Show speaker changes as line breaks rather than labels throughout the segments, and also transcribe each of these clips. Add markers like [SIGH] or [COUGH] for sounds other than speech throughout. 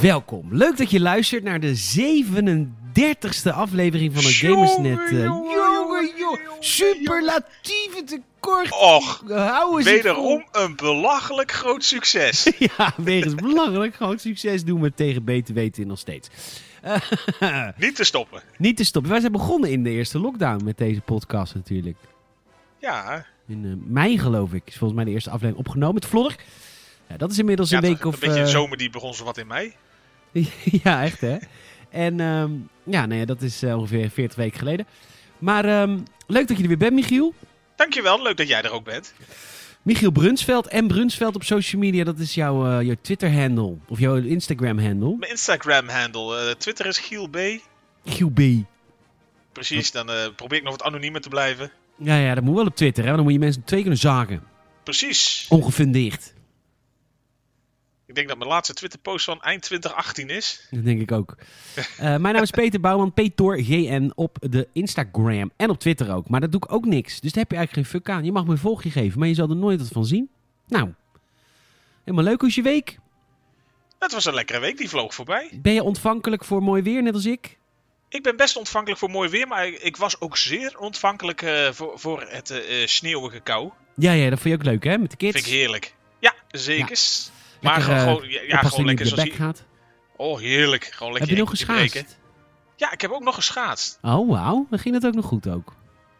Welkom. Leuk dat je luistert naar de 37e aflevering van het Gamersnet. eh,
Jongen,
jongen,
jongen,
jongen.
jongen.
Superlatieve tekort.
Och,
Houden ze het vol.
wederom een belachelijk groot
[LAUGHS]
succes.
Ja, wegens belangrijk. Groot succes doen we tegen beter weten in nog steeds. Eh, [LAUGHS]
Niet te stoppen.
niet te stoppen. Wij zijn begonnen in de eerste lockdown met deze podcast natuurlijk.
Ja,
In eh, mei geloof ik is volgens mij de eerste aflevering opgenomen met Flodder. Ja, dat is inmiddels
ja
een week of...
toch, een beetje
eh,
zomer die begon zo wat in mei.
[LAUGHS] ja, echt hè. En ehm, ja, nou ja, dat is eh, ongeveer 40 weken geleden. Maar ehm, leuk dat je er weer bent, Michiel.
Dankjewel, leuk dat jij er ook bent.
Michiel Brunsveld en Brunsveld op social media, dat is jouw, eh, jouw Twitter-handle. Of jouw Instagram-handle.
Mijn Instagram-handle, eh, Twitter is Giel B.
QB. Hm.
Precies, dan eh, probeer ik nog wat anoniemer te blijven.
Ja, ja, dat moet wel op Twitter, hè? want dan moet je mensen twee kunnen zagen.
Precies.
Ongefundeerd.
Ik denk dat mijn laatste Twitter-post van eind 2018 is.
Dat denk ik ook. Eh, mijn naam is Peter Bouwman, PetorGN op de Instagram en op Twitter ook. Maar dat doe ik ook niks. Dus daar heb je eigenlijk geen fuck aan. Je mag me een volgje geven, maar je zal er nooit wat van zien. Nou, helemaal leuk. Hoe is je week?
Het was een lekkere week, die vloog voorbij.
Ben je ontvankelijk voor mooi weer, net als ik?
Ik ben best ontvankelijk voor mooi weer, maar ik, ik was ook zeer ontvankelijk eh, voor, voor het eh, eh, sneeuwige kou.
Ja, ja, dat vond je ook leuk, hè? Met de kids.
Vind ik heerlijk. Ja, zekers.
Lekker,
Maar gewoon,
eh,
gewoon- ja, ja,
oppassen
gewoon
dat je
lekker
niet op
zoals
de bek
hier.
gaat.
Oh, heerlijk. Gewoon
Heb
lekker
je nog
enkeltje breken.
geschaatst?
Ja, ik heb ook nog geschaatst.
Oh, wauw. Dan ging het ook nog goed ook.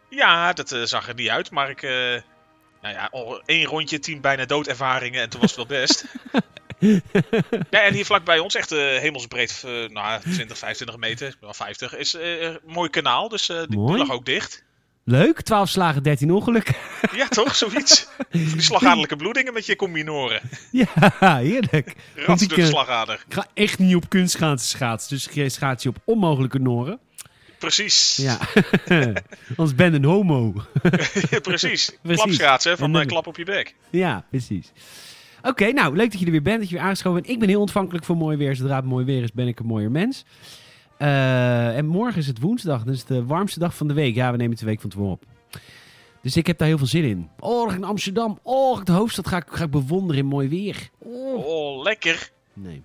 Ja, dat eh, zag er niet uit, maar ik... eh, nou ja, al één rondje, tien bijna doodervaringen en toen was het
[LAUGHS]
wel best. ja, en hier vlakbij ons, echt eh, hemelsbreed, eh, nou, 20, 25 meter, wel 50, is eh, een mooi kanaal, dus eh, die
Mooi.
lag ook dicht.
Leuk. 12 slagen, 13 ongelukken. [LAUGHS]
Ja, toch? Zoiets. Van die slagadelijke bloedingen met je
[LAUGHS]
combinoren.
ja, heerlijk.
Rats door de
eh,
slagader.
Ik ga echt niet op kunstschaatsen schaatsen. Dus je schaats je op onmogelijke noren.
Precies. [LAUGHS]
Ja. [LAUGHS] Anders ben een homo.
Precies. Klapschaatsen, van
En-
eh, klap op je bek.
ja, precies. Oké, nou, leuk dat je er weer bent, dat je weer aangeschoven bent. Ik ben heel ontvankelijk voor mooi weer. Zodra het mooi weer is, ben ik een mooier mens. Eh, en morgen is het woensdag, dus de warmste dag van de week. Ja, we nemen het de week van tevoren op. Dus ik heb daar heel veel zin in. Oh, ik in Amsterdam. Oh, de hoofdstad ga ik, ga ik bewonderen in mooi weer. Oh.
Oh, lekker.
Nee.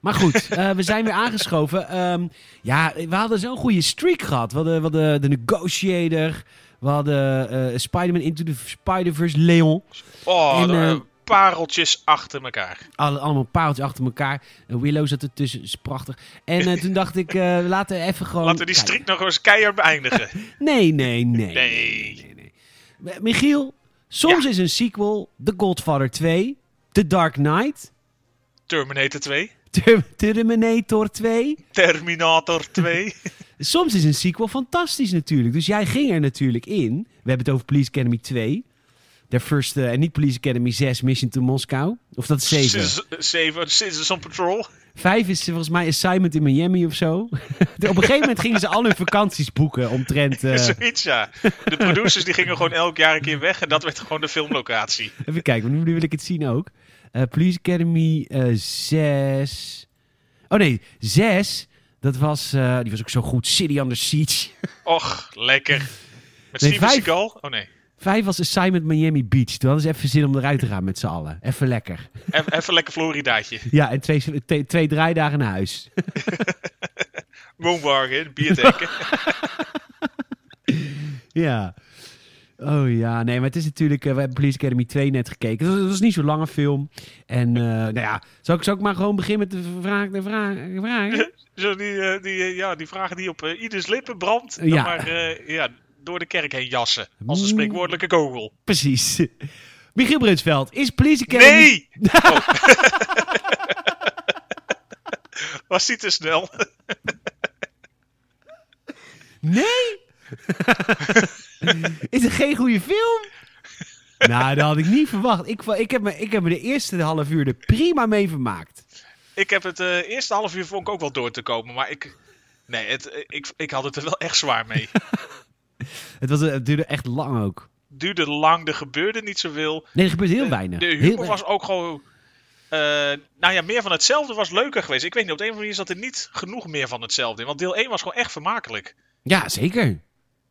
Maar goed, eh, we zijn weer aangeschoven. Ehm, ja, we hadden zo'n goede streak gehad. We hadden, we hadden The Negotiator. We hadden eh, Spider-Man Into the Spider-Verse, Leon.
Oh,
En,
de-
eh, Oh,
pareltjes achter elkaar.
Alle, allemaal paaltjes achter elkaar. Eh, Willow zat ertussen, is prachtig. En eh, toen dacht ik, eh, laten we even gewoon...
Laten we die
kijken.
strik nog eens keihard beëindigen.
[LAUGHS] Nee, nee, nee.
Nee.
nee, nee. M- Michiel, soms is een sequel The Godfather 2, The Dark Knight, [LAUGHS]
Terminator 2.
Ter- Terminator 2...
Terminator
[LAUGHS]
2.
Soms is een sequel fantastisch natuurlijk. Dus jij ging er natuurlijk in. We hebben het over Police Academy 2. De first, eh, en niet Police Academy 6, Mission to Moscow. Of dat is 7.
Citizen- Zeven. Citizens on Patrol.
5 is eh, volgens mij Assignment in Miami of zo. [LAUGHS] Op een gegeven moment gingen ze al hun vakanties boeken omtrent... eh,
[LAUGHS] Zoiets, ja. De producers die gingen gewoon elk jaar een keer weg. En dat werd gewoon de filmlocatie.
even kijken, want nu wil ik het zien ook. Eh, Police Academy eh, 6... Oh nee, 6. Dat was... eh, die was ook zo goed. City Under Siege. [LAUGHS]
Och, lekker. Met
Nee,
Steven
vijf.
Seagal. Oh nee.
Vijf was Assignment Miami Beach. Toen hadden ze even zin om eruit te gaan met z'n allen. Even lekker.
Even, even lekker Floridaatje.
Ja, en twee, twee, twee draaidagen naar huis.
Woonwagen,
[LAUGHS]
bierdenken.
Ja. Oh ja, nee, maar het is natuurlijk... eh, we hebben Police Academy 2 net gekeken. Dat was, dat was niet zo'n lange film. En eh, [LAUGHS] nou ja, zou ik, zou ik maar gewoon beginnen met de vraag... De vraag, de
[LAUGHS]
vraag
Zo die, eh, die, eh, ja, die vragen die op eh, ieders lippen brandt. dan
Ja.
Maar eh, ja, door de kerk heen jassen. Als een spreekwoordelijke kogel.
Precies. Michiel Brunsveld, is Police Academy...
Nee!
[LAUGHS]
Oh. [LAUGHS] Was die te snel? [LAUGHS]
Nee? is het geen goede film? nou, dat had ik niet verwacht. Ik, va- ik, heb me, ik heb me de eerste half uur er prima mee vermaakt.
Ik heb het eh, eerste half uur vond ik ook wel door te komen, maar ik... Nee, het, eh, ik, ik had het er wel echt zwaar
[LAUGHS]
mee.
Het, was, eh, het duurde echt lang ook.
Duurde lang, er gebeurde niet zoveel.
Nee, er gebeurt heel weinig.
De
heel
humor
weinig.
was ook gewoon... eh, nou ja, meer van hetzelfde was leuker geweest. Ik weet niet, op de een of andere manier zat er niet genoeg meer van hetzelfde in. Want deel 1 was gewoon echt vermakelijk.
Ja, zeker. Nou,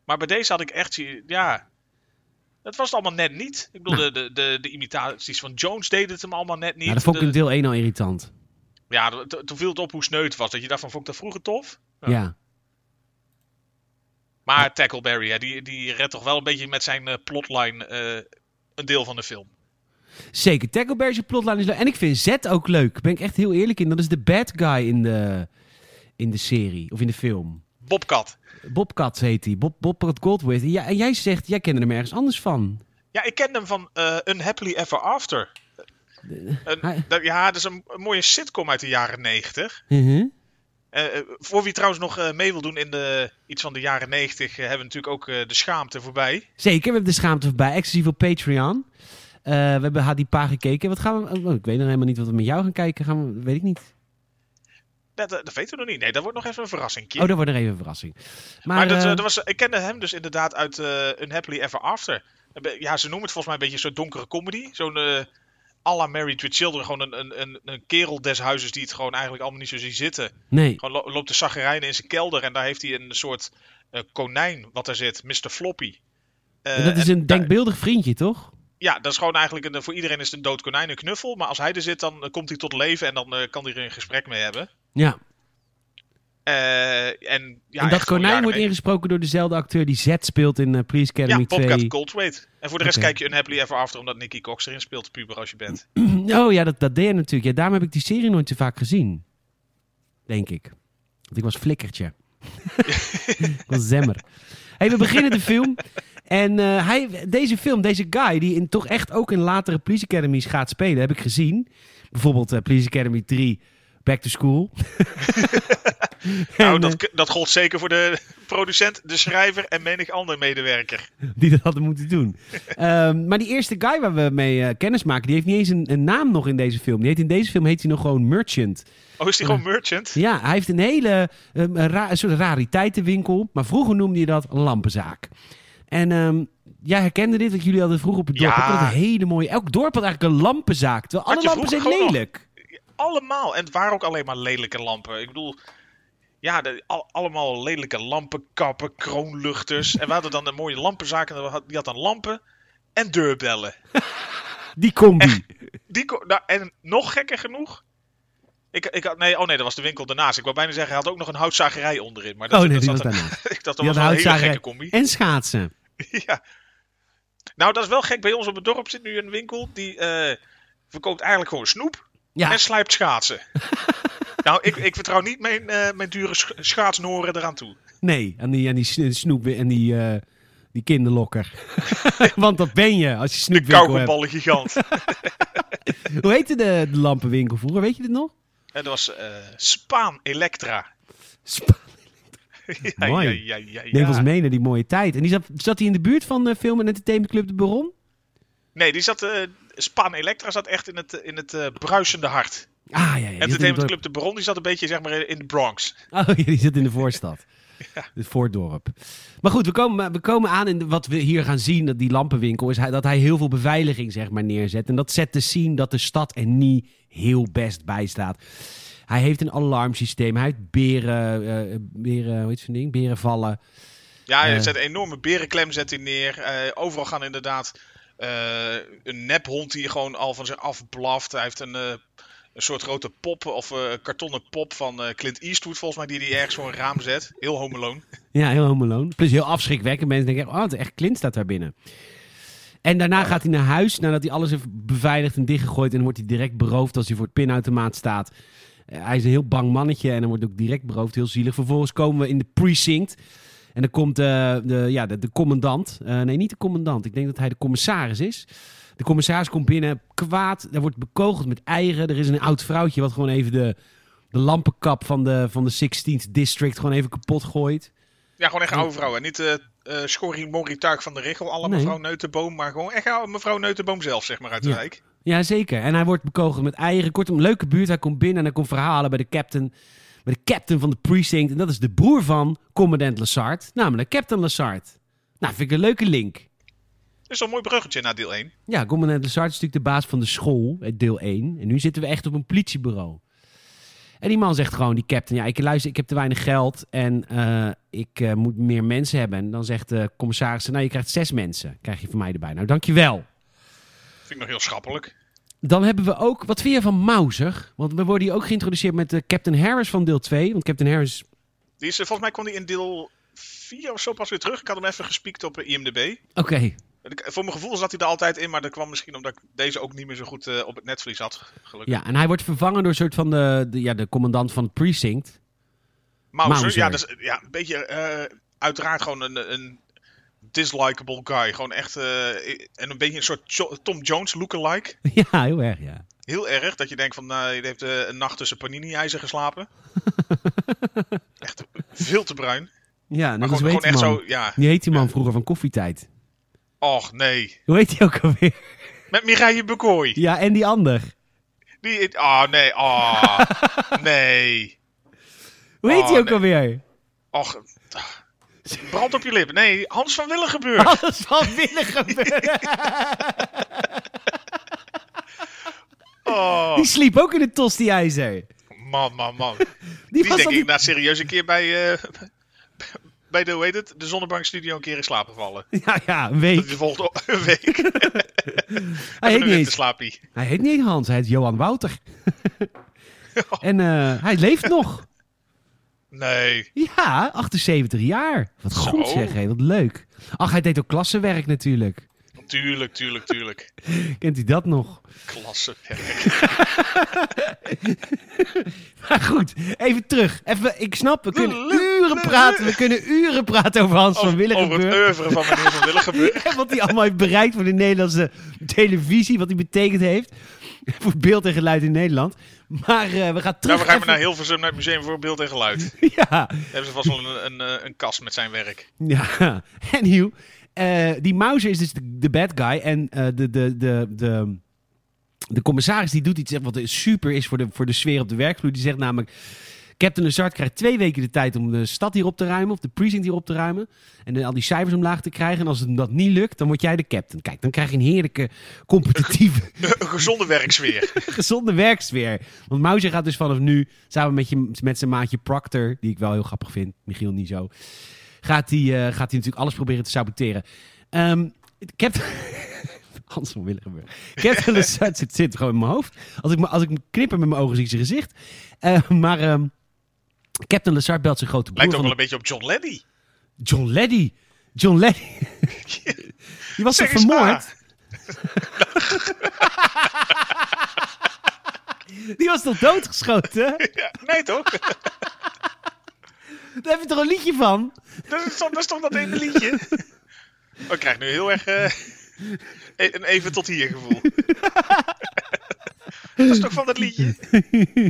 Maar bij deze had ik echt... zie- Ja, dat was het allemaal net niet. Ik bedoel, de, de, de, de imitaties van Jones deden het hem allemaal net niet.
Nou, dat vond ik
De-
in deel 1 al irritant.
Ja, d- t- toen viel het op hoe sneu het was. Dat je dacht van, vond ik dat vroeger tof? Ja.
Ja.
Maar Tackleberry, hè, die, die redt toch wel een beetje met zijn eh, plotline eh, een deel van de film.
Zeker. Tackleberry's plotline is leuk. En ik vind Z ook leuk. Ben ik echt heel eerlijk in. Dat is de bad guy in de, in de serie. Of in de film.
Bobcat.
Bobcat heet hij. Bob, Bobcat Goldthwait. Ja, en jij zegt, jij kende hem ergens anders van.
Ja, ik ken hem van eh Unhappily Ever After. Een-
Hij-
dat- ja, dat is een, een mooie sitcom uit de jaren negentig. Eh,
Mhm.
voor wie trouwens nog eh, mee wil doen in de, iets van de jaren negentig, hebben we natuurlijk ook eh, de schaamte voorbij.
Zeker, we hebben de schaamte voorbij. Exclusief op Patreon. Eh, we hebben Hadipa gekeken. Wat gaan we... oh, ik weet nog helemaal niet wat we met jou gaan kijken. Gaan we... Weet ik niet.
Dat, dat, dat weten we nog niet. Nee, dat wordt nog even een verrassing.
Oh, dat wordt er even een verrassing. Maar,
Maar, dat, eh,
eh,
dat was, ik kende hem dus inderdaad uit eh Unhappily Ever After. Een be- Ja, ze noemen het volgens mij een beetje zo'n donkere comedy. Zo'n eh à la Married with Children. Gewoon een, een, een, een kerel des huizes die het gewoon eigenlijk allemaal niet zo ziet zitten.
Nee.
Gewoon lo- loopt de zaggerijnen in zijn kelder en daar heeft hij een soort eh, konijn wat daar zit. Mr. Floppy. Eh,
dat is
en
een
daar-
denkbeeldig vriendje, toch?
ja, dat is gewoon eigenlijk een, voor iedereen is het een dood konijn een knuffel. Maar als hij er zit, dan eh, komt hij tot leven en dan eh, kan hij er een gesprek mee hebben.
Ja.
Eh, en, ja,
en dat
echt gewoon
konijn
jaren
wordt
mee-
ingesproken door dezelfde acteur die Z speelt in eh, Police Academy
ja, Bobcat
2.
Goldthwait. En voor de rest
Oké.
kijk je Unhappily Ever After omdat Nicky Cox erin speelt, puber als je
[LAUGHS]
bent.
[CLEARS THROAT] Oh ja, dat, dat deed hij natuurlijk. Ja, daarom heb ik die serie nooit zo vaak gezien. Denk ik. Want ik was flikkertje. [LAUGHS] ik was zemmer. Hey, we beginnen de film. En eh, hij, deze film, deze guy, die in, toch echt ook in latere Police Academies gaat spelen, heb ik gezien. Bijvoorbeeld eh, Police Academy 3, Back to School. [LAUGHS]
nou,
En,
dat, dat gold zeker voor de [LAUGHS] producent, de schrijver en menig ander medewerker.
die dat hadden moeten doen. Ehm, maar die eerste guy waar we mee eh, kennis maken, die heeft niet eens een, een naam nog in deze film. Die heet, in deze film heet hij nog gewoon Merchant.
Oh, is die gewoon merchant?
Ja, hij heeft een hele ehm, een ra- een soort rariteitenwinkel. Maar vroeger noemde je dat een lampenzaak. En ehm, jij herkende dit, want jullie hadden het vroeger op het dorp.
Ja.
Ik vond het een hele mooie. Elk dorp had eigenlijk een lampenzaak. Terwijl alle
Had je
lampen zijn
vroeger gewoon
lelijk.
Allemaal. En het waren ook alleen maar lelijke lampen. Ik bedoel, ja, de- al- allemaal lelijke lampenkappen, kroonluchters. En we hadden dan een mooie lampenzaak en dan had- die had dan lampen en deurbellen.
Die combi.
Die ko- nou, en nog gekker genoeg. Ik, ik had, nee, oh nee, dat was de winkel daarnaast. Ik wou bijna zeggen, hij had ook nog een houtzagerij onderin. Maar dat,
oh nee,
dat
die
zat
was
er-
daarna.
[LAUGHS] ik dacht, dat
Die had
was wel een hele
houtzagerij.
gekke combi. [LAUGHS]
En schaatsen.
Ja. Nou, dat is wel gek. Bij ons op het dorp zit nu een winkel die eh, verkoopt eigenlijk gewoon snoep
Ja,
en slijpt schaatsen. [LAUGHS] nou, ik, ik vertrouw niet mijn, eh, mijn dure sch- schaatsnoren eraan toe.
nee. En die, en die sn- snoep en die, eh, die kinderlokker.
[LAUGHS]
Want dat ben je als je
De
snoepwinkel hebt.
kauwgomballen
[LAUGHS]
gigant. en
Hoe heette de, de lampenwinkel vroeger? Weet je dit nog?
dat was eh, Spaan Electra.
Spa-
[LAUGHS] ja, ja,
Mooi.
ja, ja, ja.
Neem ons mee naar die mooie tijd. En die zat, zat hij in de buurt van de Film en Entertainment Club De Baron?
Nee, die zat, eh, Spaan Electra zat echt in het, eh, in het eh, bruisende hart.
Ah ja, ja. die zat in het dorp.
Entertainment Club De Baron die zat een beetje zeg maar, in de
[LAUGHS]
Bronx.
Oh ja, die zit in de voorstad. Het voordorp. Maar goed, we komen, we komen aan en wat we hier gaan zien, dat die lampenwinkel, is hij, dat hij heel veel beveiliging zeg maar, neerzet. En dat zet te zien dat de stad er niet heel best bij staat. Hij heeft een alarmsysteem, hij heeft beren, eh, beren hoe heet zo'n ding? Berenvallen.
Ja,
Eh.
er zet een enorme berenklem zet hij neer. Eh, overal gaan inderdaad eh, een nephond die gewoon al van zich afblaft. Hij heeft een, eh, een soort grote pop of eh, kartonnen pop van eh, Clint Eastwood volgens mij die hij ergens voor een raam zet. Heel homeloon.
Ja, heel homeloon. Plus heel afschrikwekkend. Mensen denken, echt, oh, het is echt Clint staat daar binnen. En daarna gaat hij naar huis, nadat hij alles heeft beveiligd en dichtgegooid. En wordt hij direct beroofd als hij voor het pinautomaat staat. Eh, hij is een heel bang mannetje en dan wordt ook direct beroofd. Heel zielig. Vervolgens komen we in de precinct. En dan komt eh, de, ja, de, de commandant. Eh, nee, niet de commandant. Ik denk dat hij de commissaris is. De commissaris komt binnen, kwaad. Er wordt bekogeld met eieren. Er is een oud vrouwtje wat gewoon even de, de lampenkap van de, van de 16th District gewoon even kapot gooit.
Ja, gewoon echt oude vrouw. En niet eh eh schorrie morrie tuig van de richel, alle
Oh. Nee.
mevrouw Neutenboom. Maar gewoon echt oude mevrouw Neutenboom zelf, zeg maar, uit de
Ja.
wijk.
Ja, zeker. En hij wordt bekogeld met eieren. Kortom, leuke buurt. Hij komt binnen en hij komt verhalen bij de captain. Bij de captain van de precinct. En dat is de broer van commandant Lassard. Namelijk Captain Lassard. Nou, vind ik een leuke link.
Dat is wel een mooi bruggetje naar deel 1.
Ja, commandant Lassard is natuurlijk de baas van de school. eh, Deel 1. En nu zitten we echt op een politiebureau. En die man zegt gewoon, die captain. Ja, ik luister, ik heb te weinig geld. En eh, ik eh, moet meer mensen hebben. En dan zegt de commissaris, nou, je krijgt zes mensen. Krijg je van mij erbij. Nou, dankjewel.
Vind ik nog heel schappelijk.
Dan hebben we ook, wat vind je van Mauser? Want we worden hier ook geïntroduceerd met de Captain Harris van deel 2. Want Captain Harris,
Die is, eh, volgens mij kwam die in deel 4 of zo pas weer terug. Ik had hem even gespiekt op eh, IMDb.
oké,
En ik- Voor mijn gevoel zat hij er altijd in, maar dat kwam misschien omdat ik deze ook niet meer zo goed eh, op het netvlies had. Gelukkig.
ja. En hij wordt vervangen door een soort van de, de, ja, de commandant van het precinct. [LAUGHS]
Mauser,
Mauser.
Ja, dat is, eh, ja, een beetje eh, uiteraard gewoon een, een dislikable guy. Gewoon echt eh, en een beetje een soort Jo- Tom Jones lookalike.
ja, heel erg, ja.
Heel erg dat je denkt van, nou, je heeft eh, een nacht tussen panini-ijzer
[LAUGHS]
geslapen. echt veel te bruin.
Ja,
Maar
net als
gewoon,
hoe
gewoon echt
heet die man?
zo, ja.
Die heet die man vroeger van Koffietijd.
Och nee.
Hoe heet die ook alweer? [LAUGHS]
Met Mireille Bekooi.
Ja, en die ander.
Die, oh nee, oh
[LAUGHS]
nee.
Hoe heet die
Oh,
ook
nee. [LAUGHS]
alweer?
Och, eh, brand op je lip. Nee, Hans van Willigenburg.
Alles van binnen gebeuren.
Oh,
Die sliep ook in de tosti-ijzer.
man, man, man.
Die,
Die
was
denk
dan
ik na serieus een keer bij, eh, bij de, hoe heet het, de Zonnebank Studio een keer in slaap gevallen.
[LAUGHS] Ja, ja, een
nou- Dat
week.
is de volgende [LAUGHS] week.
Hij heet, niet
Even een te
eens,
slaapie.
hij heet niet eens Hans, hij heet Johan
[LAUGHS]
Wouter. [LAUGHS] en eh, hij leeft nog.
Nee.
Ja, 78 jaar. Wat goed
Zo.
zeg, hé, wat leuk. Ach, hij deed ook klassenwerk natuurlijk.
Tuurlijk, tuurlijk, tuurlijk.
Kent hij dat nog? [LAUGHS]
Klasse.
Maar goed, even terug. Even, ik snap, we kunnen uren praten. We kunnen uren praten over Hans van
Over, over het
Willigenburg.
oeuvre van meneer van Willigenburg.
En wat hij allemaal heeft bereikt voor de Nederlandse televisie. Wat hij betekend heeft. [LAUGHS] Voor beeld en geluid in Nederland. Maar eh, we gaan [LAUGHS] terug.
Nou, we gaan maar
even-
naar Hilversum, naar het Museum voor Beeld en
[LAUGHS]
Geluid.
Ja,
Daar hebben ze vast wel een, een, eh, een kast met zijn werk.
ja. [LAUGHS] En Hugh, eh, die Mauser is dus de, de bad guy. En eh, de, de, de, de, de commissaris die doet iets eh, wat super is voor de, voor de sfeer op de werkvloer. Die zegt namelijk... Captain Lazard krijgt twee weken de tijd om de stad hier op te ruimen. Of de precinct hier op te ruimen. En eh, al die cijfers omlaag te krijgen. En als hem dat niet lukt, dan word jij de captain. Kijk, dan krijg je een heerlijke competitieve...
Een gezonde werksfeer.
[LAUGHS] gezonde werksfeer. Want Mauser gaat dus vanaf nu, samen met, je, met zijn maatje Proctor, die ik wel heel grappig vind, Michiel niet zo, gaat hij eh, gaat hij natuurlijk alles proberen te saboteren. Ehm Captain... [LAUGHS] Hans van Willigenburg.
[LAUGHS]
Captain Lizard zit, zit gewoon in mijn hoofd. Als ik, me- als ik me knipper met mijn ogen zie ik zijn gezicht. Eh, maar ehm, Captain Lizard belt zijn grote broer
Lijkt ook
van
wel een beetje op John Lenny.
John Leddy. John
[LAUGHS]
Leddy. Die was toch
Zeg eens na.
vermoord? [LAUGHS] Die was toch doodgeschoten?
Ja, nee toch?
Daar heb je toch een liedje van?
Dat is, toch- dat is toch dat ene liedje? [LAUGHS] Oh, ik krijg nu heel erg [LAUGHS] eh, e- een even tot hier gevoel. [LAUGHS] dat is toch van dat liedje?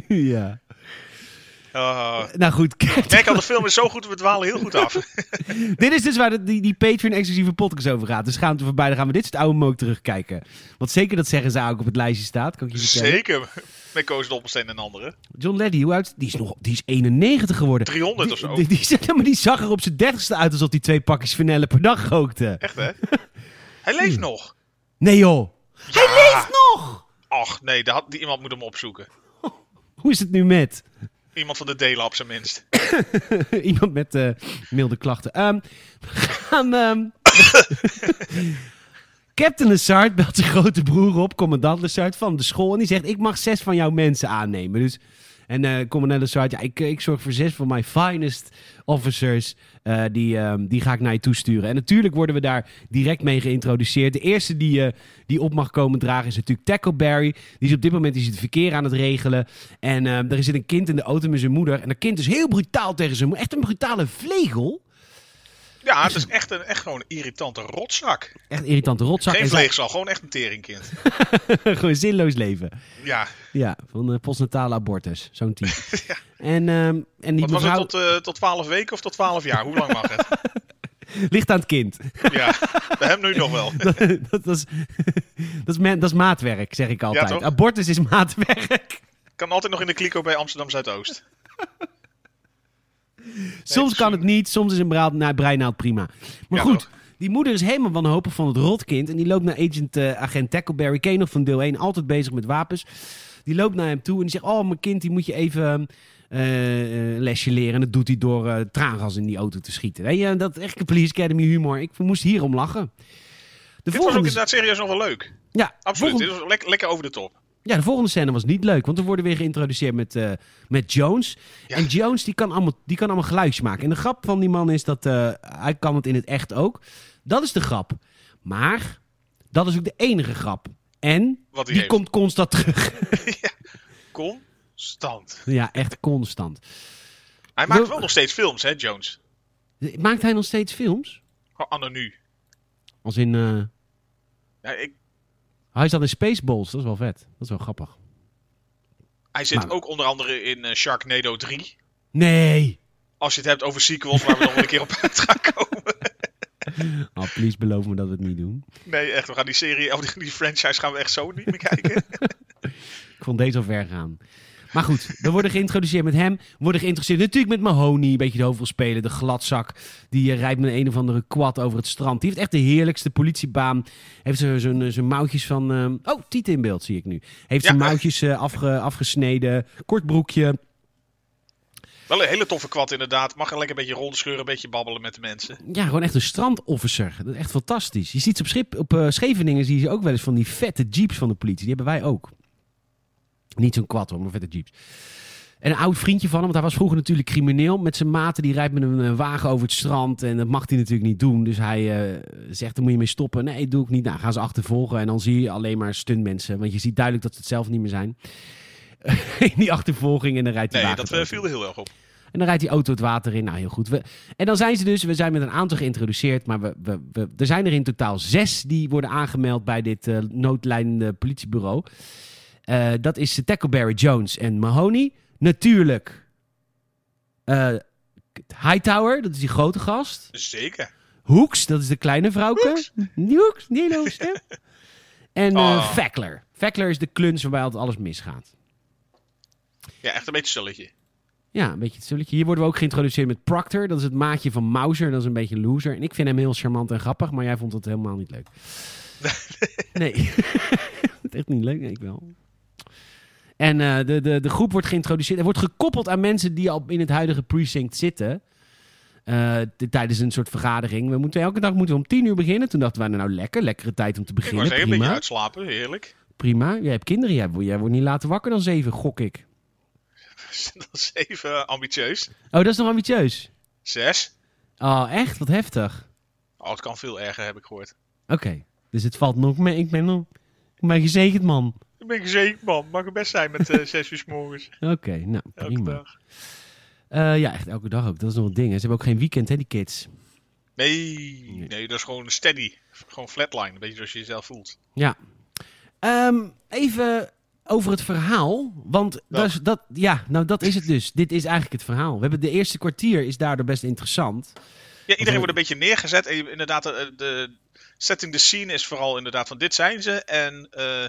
ja.
Oh.
Nou goed,
Ik
kijk.
merk al, de film is zo goed, we dwalen heel goed af.
Dit is dus waar de- die, die Patreon-exclusieve podcast over gaat. Dus gaan we voorbij, dan gaan we dit soort oude mook terugkijken. Want zeker dat zeggen ze ook op het lijstje staat, kan ik je vertellen.
[LAUGHS] Zeker. Met Koos Doppelsteen en anderen.
John Leddy, hoe oud? Die is, nog, die is 91 geworden.
300 of
Die-
zo.
Die, die, zag- maar die zag er op zijn dertigste uit alsof hij twee pakjes vanille per dag rookte.
Echt hè? Hij leeft nog.
Nee joh. Hij leeft nog!
Ach nee, daar had, die, iemand moet hem opzoeken.
Hoe is het nu met? [LAUGHS]
Iemand van de D-Lab zijn minst.
Iemand met eh, milde klachten. Ehm, [LAUGHS] we gaan... ehm, [LAUGHS] Captain Lessard belt zijn grote broer op, commandant Lessard van de school. En die zegt, ik mag zes van jouw mensen aannemen. Dus, en eh commandant Lessard, ja, ik, ik zorg voor zes van mijn finest officers. Eh, die, ehm, die ga ik naar je toesturen. En natuurlijk worden we daar direct mee geïntroduceerd. De eerste die, eh, die op mag komen dragen is natuurlijk Tackleberry. Die is op dit moment die is het verkeer aan het regelen. En ehm, er zit een kind in de auto met zijn moeder. En dat kind is heel brutaal tegen zijn moeder. Echt een brutale vlegel.
Ja, het is echt, een, echt gewoon een irritante rotzak.
Echt een irritante rotzak.
Geen
En zij-
vleegzaal, gewoon echt een teringkind.
[LAUGHS] Gewoon zinloos leven.
Ja,
Ja, van eh, postnatale abortus. Zo'n type.
[LAUGHS]
En, ehm, en die
wat was het
mevrouw
tot, eh, tot 12 weken of tot 12 jaar? Hoe lang mag het?
ligt aan het kind.
Ja, bij hem nu nog wel.
[LAUGHS] dat, dat, is, dat, is men- dat is maatwerk, zeg ik altijd.
toch?
abortus is maatwerk.
Kan altijd nog in de kliko bij Amsterdam Zuidoost.
[LAUGHS] Soms kan het niet, soms is een braad, nou, breinaald prima. Maar
Ja,
goed,
toch?
die moeder is helemaal wanhopig van het rotkind. En die loopt naar agent, eh, agent Tackleberry, ken je nog van deel 1, altijd bezig met wapens. Die loopt naar hem toe en die zegt, oh mijn kind, die moet je even eh, eh, lesje leren. En dat doet hij door eh, traangas in die auto te schieten. Weet je, dat echt police academy humor. Ik moest hierom lachen. De
Dit was ook
volgende...
inderdaad serieus nog wel leuk.
ja,
Absoluut,
volgende-
dit was lek- lekker over de top.
Ja, de volgende scène was niet leuk, want we worden weer geïntroduceerd met, eh, met Jones.
Ja.
En Jones die kan, allemaal, die kan allemaal geluidjes maken. En de grap van die man is dat eh, hij kan het in het echt ook. Dat is de grap. Maar dat is ook de enige grap. En
Wat hij
die
heeft.
komt constant terug. [LAUGHS]
Constant.
ja, echt constant.
Hij maakt
Wil-
wel nog steeds films, hè, Jones?
Maakt hij nog steeds films?
Gewoon anno nu.
Als in... eh,
Ja, ik,
hij zat in Spaceballs, dat is wel vet. Dat is wel grappig.
hij zit
Maar-
ook onder andere in eh, Sharknado 3.
Nee!
Als je het hebt over sequels waar we nog wel een keer op [LAUGHS] uit gaan komen.
Oh, please beloof me dat we het niet doen.
Nee, echt, we gaan die serie, of die, die franchise gaan we echt zo niet meer
[LAUGHS]
kijken.
Ik vond deze al ver gaan. Maar goed, we worden geïntroduceerd met hem. We worden geïntroduceerd natuurlijk met Mahoney. Een beetje de hoofdrolspeler, de gladzak. Die eh, rijdt met een of andere quad over het strand. Die heeft echt de heerlijkste politiebaan. Heeft zo- zo'n eh, zo'n mouwtjes van... ehm, Oh, Tiet in beeld zie ik nu. Heeft
Ja.
zijn mouwtjes eh, afge- afgesneden. Kort broekje.
wel een hele toffe kwad inderdaad. Mag er lekker een beetje rondscheuren, een beetje babbelen met de mensen.
Ja, gewoon echt een strandofficer. Dat is echt fantastisch. Je ziet ze op, Schip, op eh, Scheveningen zie je ook wel eens van die vette jeeps van de politie. Die hebben wij ook. Niet zo'n quad hoor, maar vette jeeps. En een oud vriendje van hem, want hij was vroeger natuurlijk crimineel. Met zijn maten, die rijdt met een eh, wagen over het strand. En dat mag hij natuurlijk niet doen. Dus hij eh, zegt, daar moet je mee stoppen. Nee, doe ik niet. Nou, gaan ze achtervolgen. En dan zie je alleen maar stuntmensen. Want je ziet duidelijk dat ze het zelf niet meer zijn. [LAUGHS] In die achtervolging en dan rijdt hij
Nee, dat eh, viel er heel erg op.
en dan rijdt die auto het water in. Nou, heel goed. We, en dan zijn ze dus, we zijn met een aantal geïntroduceerd. Maar we, we, we- er zijn er in totaal zes die worden aangemeld bij dit eh, noodlijnende politiebureau. Eh, dat is eh, Tackleberry Jones en Mahoney. Natuurlijk. eh, Hightower, dat is die grote gast.
Zeker.
Hoeks, dat is de kleine vrouwke. Hoeks, Hoeks niet Hoeks, hè? En eh
Oh.
Fackler. Fackler is de kluns waarbij altijd alles misgaat.
Ja, echt een beetje stilletje.
Ja, een beetje het sulletje. Hier worden we ook geïntroduceerd met Proctor. Dat is het maatje van Mauser. Dat is een beetje een loser. En ik vind hem heel charmant en grappig, maar jij vond het helemaal niet
[LAUGHS]
leuk. Nee. [LAUGHS] Het is echt niet leuk, nee, ik wel. En eh, de, de, de groep wordt geïntroduceerd. Er wordt gekoppeld aan mensen die al in het huidige precinct zitten. Eh, t- tijdens een soort vergadering. We moeten elke dag moeten we om tien uur beginnen. Toen dachten wij, nou lekker, lekkere tijd om te
Ik was
beginnen.
een beetje
prima,
uitslapen, heerlijk. [LAUGHS]
prima. Jij hebt kinderen, jij, jij wordt niet later wakker dan zeven, gok ik.
Dat is even eh, ambitieus.
Oh, dat is nog ambitieus.
Zes.
Oh, echt? Wat heftig.
Oh, het kan veel erger, heb ik gehoord.
Oké, dus het valt nog mee. Ik ben nog. Ik ben gezegend man.
Ik ben gezegend, man. Mag het best zijn met eh, zes uur 's morgens.
Oké, nou
Elke
prima.
dag.
Eh, ja, echt elke dag ook. Dat is nog een ding. hè. Ze hebben ook geen weekend, hè, die kids.
Nee, nee, dat is gewoon steady. Gewoon flatline, een beetje zoals je jezelf voelt.
Ja. Ehm, even over het verhaal. Want dat is, dat, ja, nou, dat is het dus. Dit is eigenlijk het verhaal. We hebben de eerste kwartier is daardoor best interessant.
Ja, iedereen wordt een beetje neergezet. En je- inderdaad, de, de setting the scene is vooral inderdaad van dit zijn ze. En eh,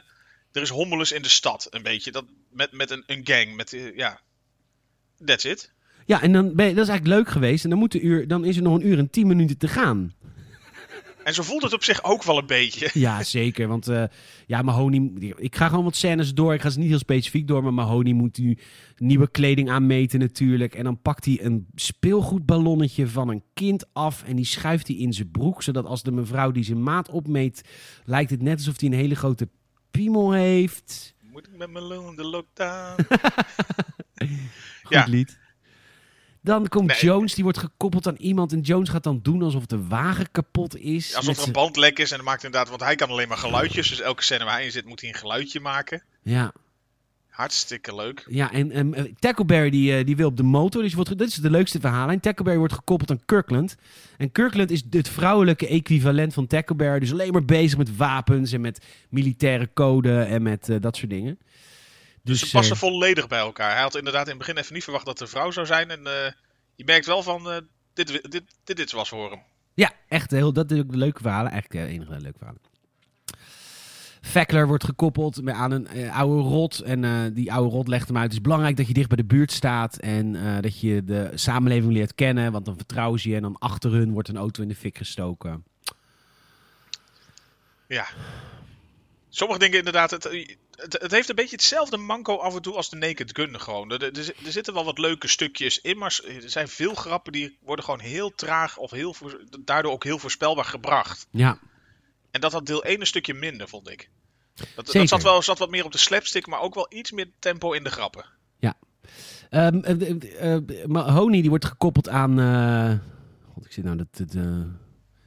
er is hommelus in de stad, een beetje. Dat, met met een, een gang. Met, eh, ja, that's it.
Ja, en dan ben je, dat is eigenlijk leuk geweest. En dan, moet de uur, dan is er nog een uur en tien minuten te gaan.
En zo voelt het op zich ook wel een beetje.
Ja, zeker. Want eh ja, Mahoney. Ik ga gewoon wat scènes door. Ik ga ze niet heel specifiek door. Maar Mahoney moet nu nieuwe kleding aanmeten, natuurlijk. En dan pakt hij een speelgoedballonnetje van een kind af. En die schuift hij in zijn broek. Zodat als de mevrouw die zijn maat opmeet. lijkt het net alsof hij een hele grote piemel heeft.
Moet ik met mijn lul in de
[LAUGHS]
lockdown?
Goed
Ja.
lied. Dan komt
Nee.
Jones, die wordt gekoppeld aan iemand. En Jones gaat dan doen alsof de wagen kapot is.
Ja,
Met
Alsof er een
zijn-
band lek is en dat maakt inderdaad, want hij kan alleen maar geluidjes. Dus elke scène waar hij in zit moet hij een geluidje maken.
Ja,
Hartstikke leuk.
Ja, en ehm, eh, Tackleberry die, eh, die wil op de motor. Dus wordt, ge- dit is de leukste verhaallijn. Tackleberry wordt gekoppeld aan Kirkland. En Kirkland is het vrouwelijke equivalent van Tackleberry. Dus alleen maar bezig met wapens en met militaire code en met eh, dat soort dingen.
Dus
Dus,
ze passen
eh,
volledig bij elkaar. Hij had inderdaad in het begin even niet verwacht dat het een vrouw zou zijn. En eh, je merkt wel van, eh, dit, wi- dit, dit, dit was voor hem.
ja, echt heel, dat is ook de leuke verhalen. Eigenlijk de enige leuke verhalen. Fackler wordt gekoppeld met- aan een eh, oude rot. En eh, die oude rot legt hem uit. Het is belangrijk dat je dicht bij de buurt staat. En eh, dat je de samenleving leert kennen. Want dan vertrouwen ze je. En dan achter hun wordt een auto in de fik gestoken.
Ja. Sommige dingen inderdaad, het, het, het heeft een beetje hetzelfde manco af en toe als de Naked Gun gewoon. Er, er, er zitten wel wat leuke stukjes in, maar er zijn veel grappen die worden gewoon heel traag of heel, voor- daardoor ook heel voorspelbaar gebracht.
Ja,
En dat had deel 1 een stukje minder, vond ik. Dat,
Zeker.
dat zat, wel, zat wat meer op de slapstick, maar ook wel iets meer tempo in de grappen.
Ehm, eh, eh, eh, maar Honey die wordt gekoppeld aan. eh, God, ik zit nou dat. dat eh,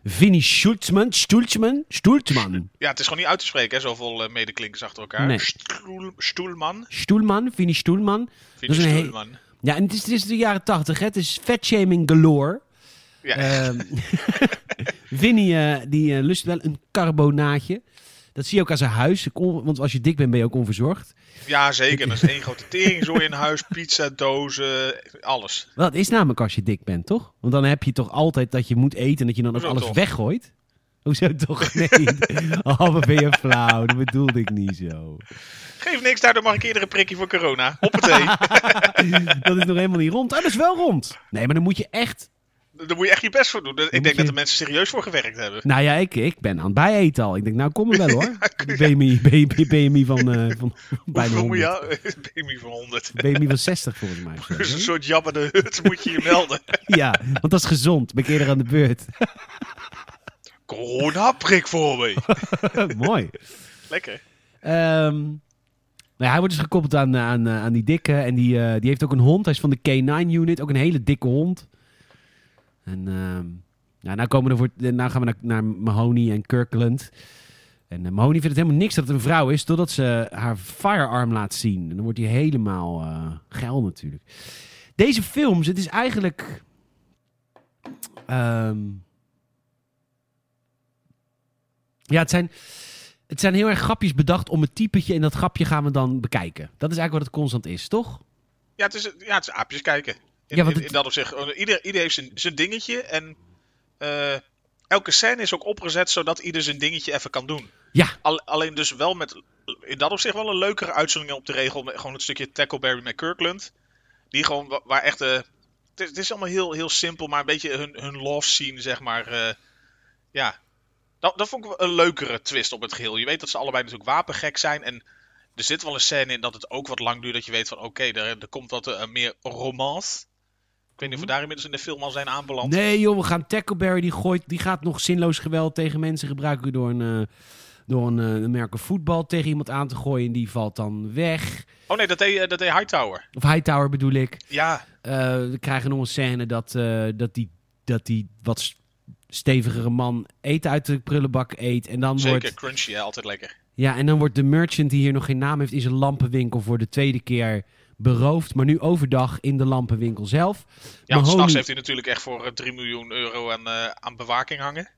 Vinnie Schultzman. Schultzman. Schultzman.
Ja, het is gewoon niet uit te spreken, hè, zoveel eh, medeklinkers achter elkaar.
Nee.
Stoel, stoelman.
Stoelman. Vinnie Stoelman.
Vind je
een he-
stoelman?
Ja, en het is, het is de jaren tachtig. Het is vetshaming galore.
Ja,
Ehm, Winnie eh, die eh, lust wel een carbonaatje. Dat zie je ook aan zijn huis. Ik on- Want als je dik bent, ben je ook onverzorgd.
ja, zeker. Dat is één grote teringzooi in huis. Pizza, dozen, alles.
Wel, Dat is namelijk als je dik bent, toch? Want dan heb je toch altijd dat je moet eten en dat je dan ook
Hoezo
alles
toch?
weggooit. Hoezo toch? [LAUGHS] Nee. oh, wat ben je flauw. Dat bedoelde ik niet zo.
Geef niks, daardoor mag ik eerder een prikje voor corona.
[LAUGHS]
Hoppatee.
Dat is nog helemaal niet rond. Ah, dat is wel rond. Nee, maar dan moet je echt...
Daar moet je echt je best voor doen. Ik
moet
denk dat
je-
de mensen serieus voor gewerkt hebben.
Nou ja, ik, ik ben aan het bijeten al. Ik denk, nou kom er wel
[LAUGHS]
hoor. De BMI, BMI, van, eh van bijna
Hoeveel moet
100.
je... [LAUGHS] Baby van 100.
BMI van 60 volgens mij. of zo.
[LAUGHS] Dus een soort jabberde hut moet je je
[LAUGHS]
melden.
Ja, want dat is gezond. Ben ik eerder aan de
[LAUGHS]
beurt.
Corona-prik voor me.
Mooi.
Lekker.
Ehm, nou ja, hij wordt dus gekoppeld aan, eh, aan, eh, aan die dikke. En die, eh, die heeft ook een hond. Hij is van de K9-unit. Ook een hele dikke hond. En ehm nou, nou, komen we voor, eh, nou gaan we naar, naar Mahoney en Kirkland. En eh, Mahoney vindt het helemaal niks dat het een vrouw is... totdat ze haar firearm laat zien. En dan wordt hij helemaal eh, geil natuurlijk. Deze films, het is eigenlijk... ehm, ja, het zijn, het zijn heel erg grapjes bedacht om het typetje... en dat grapje gaan we dan bekijken. Dat is eigenlijk wat het constant is, toch?
Ja, het is, ja, het is aapjes kijken. In,
Ja, want
in-
het-
in dat opzicht. eh, Ieder, ieder heeft zijn, zijn dingetje. En eh, elke scène is ook opgezet zodat ieder zijn dingetje even kan doen.
Ja,
Al- alleen dus wel met in dat opzicht wel een leukere uitzending op de regel. Met gewoon het stukje Tackleberry met Kirkland. Die gewoon wa- waar echt. eh, het, is, het is allemaal heel, heel simpel, maar een beetje hun, hun love scene, zeg maar. eh, ja. Dat, dat vond ik wel een leukere twist op het geheel. Je weet dat ze allebei natuurlijk wapengek zijn. En er zit wel een scène in dat het ook wat lang duurt. Dat je weet van oké, er, er komt wat eh, meer romance. Ik weet niet of we daar inmiddels in de film al zijn aanbeland.
Nee, joh, we gaan Tackleberry. Die, gooit, die gaat nog zinloos geweld tegen mensen gebruiken door een, eh, door een, eh, een merk voetbal tegen iemand aan te gooien. En die valt dan weg.
Oh nee, dat deed, eh, dat deed Hightower.
Of Hightower bedoel ik.
Ja,
Eh, we krijgen nog een scène dat, eh, dat, die, dat die wat s- stevigere man eten uit de prullenbak eet. En dan,
zeker.
wordt,
Crunchy, hè, altijd lekker.
ja, en dan wordt de merchant die hier nog geen naam heeft in zijn lampenwinkel voor de tweede keer beroofd. Maar nu overdag in de lampenwinkel zelf.
Ja, want s'nachts
Mahoney-
heeft hij natuurlijk echt voor eh, 3 miljoen euro aan, eh, aan bewaking hangen.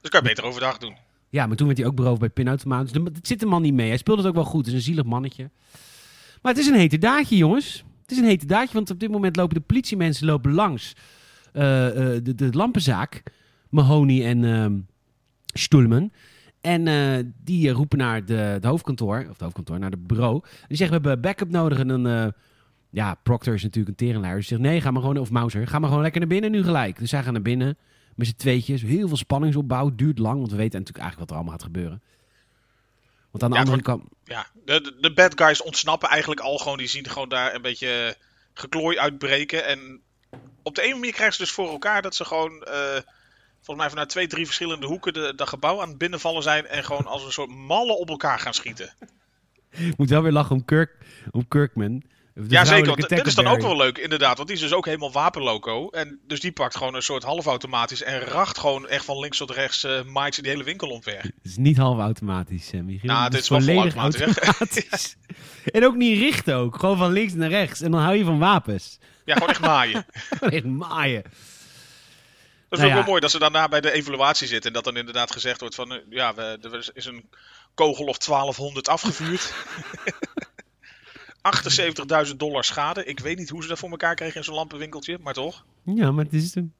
Dus kan je beter overdag doen.
Ja, maar toen werd hij ook beroofd bij pinautomaat. Dus de- het zit de man niet mee. Hij speelde het ook wel goed. Het is een zielig mannetje. Maar het is een hete daadje, jongens. Het is een hete daadje, want op dit moment lopen de politiemensen lopen langs eh, eh, de, de lampenzaak. Mahoney en ehm Stoelman. En eh, die eh, roepen naar de, het hoofdkantoor, of het hoofdkantoor, naar het bureau. En die zeggen, we hebben backup nodig. En dan, eh, ja, Proctor is natuurlijk een teringleier. Dus die zegt, nee, ga maar gewoon, of Mauser, ga maar gewoon lekker naar binnen nu gelijk. Dus zij gaan naar binnen met z'n tweetjes. Heel veel spanningsopbouw, duurt lang, want we weten natuurlijk eigenlijk wat er allemaal gaat gebeuren. Want aan de
Ja,
andere
het
kant...
Ja, de, de, de bad guys ontsnappen eigenlijk al gewoon. Die zien gewoon daar een beetje eh, geklooi uitbreken. En op de ene manier krijgen ze dus voor elkaar dat ze gewoon... eh, volgens mij vanuit twee, drie verschillende hoeken de, dat gebouw aan het binnenvallen zijn. En gewoon als een soort mallen op elkaar gaan schieten.
Ik moet wel weer lachen om, Kirk, om Kirkman. De
ja, zeker.
vrouwelijke
Want dit is dan ook
Tackleberry.
wel leuk, inderdaad. Want die is dus ook helemaal wapenloco. En dus die pakt gewoon een soort halfautomatisch. En racht gewoon echt van links tot rechts eh maait ze die hele winkel omver.
Het is niet half automatisch, eh, Michiel.
Nou,
Het
dit is wel
volledig
vol automatisch,
automatisch. [LAUGHS] en ook niet richten ook. Gewoon van links naar rechts. En dan hou je van wapens. [LAUGHS]
Ja, gewoon echt maaien.
Echt maaien.
Dat is
Nou
ook
ja.
wel mooi dat ze daarna bij de evaluatie zitten. En dat dan inderdaad gezegd wordt van... eh, Ja, we, er is- is een kogel of 1200 afgevuurd. [LAUGHS] 78.000 dollar schade. Ik weet niet hoe ze dat voor elkaar kregen in zo'n lampenwinkeltje. Maar toch.
Ja, maar het is... een-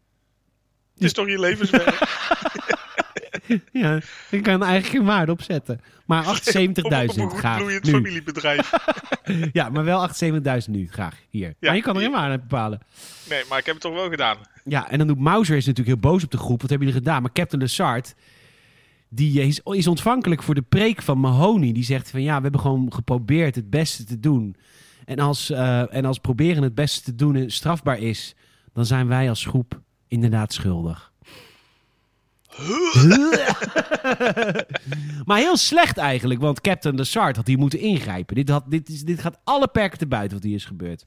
Het is toch
[LAUGHS]
je levenswerk.
Ja, ik kan er eigenlijk geen waarde op zetten.
[LAUGHS]
Maar 78.000
Op een goed
graag
bloeiend
nu.
familiebedrijf.
Ja, maar wel 78.000 nu graag hier.
Ja.
Maar je kan er geen waarde aan bepalen.
Nee, maar ik heb het toch wel gedaan.
Ja, en dan doet Mauser is natuurlijk heel boos op de groep. Wat hebben jullie gedaan? Maar Captain Lessard, die is, is ontvankelijk voor de preek van Mahoney. Die zegt van ja, we hebben gewoon geprobeerd het beste te doen. En als, eh, en als proberen het beste te doen eh, strafbaar is, dan zijn wij als groep inderdaad schuldig. [LAUGHS] maar heel slecht eigenlijk, want Captain Lassard had hier moeten ingrijpen. Dit, had, dit, is, dit gaat alle perken te buiten wat hier is gebeurd.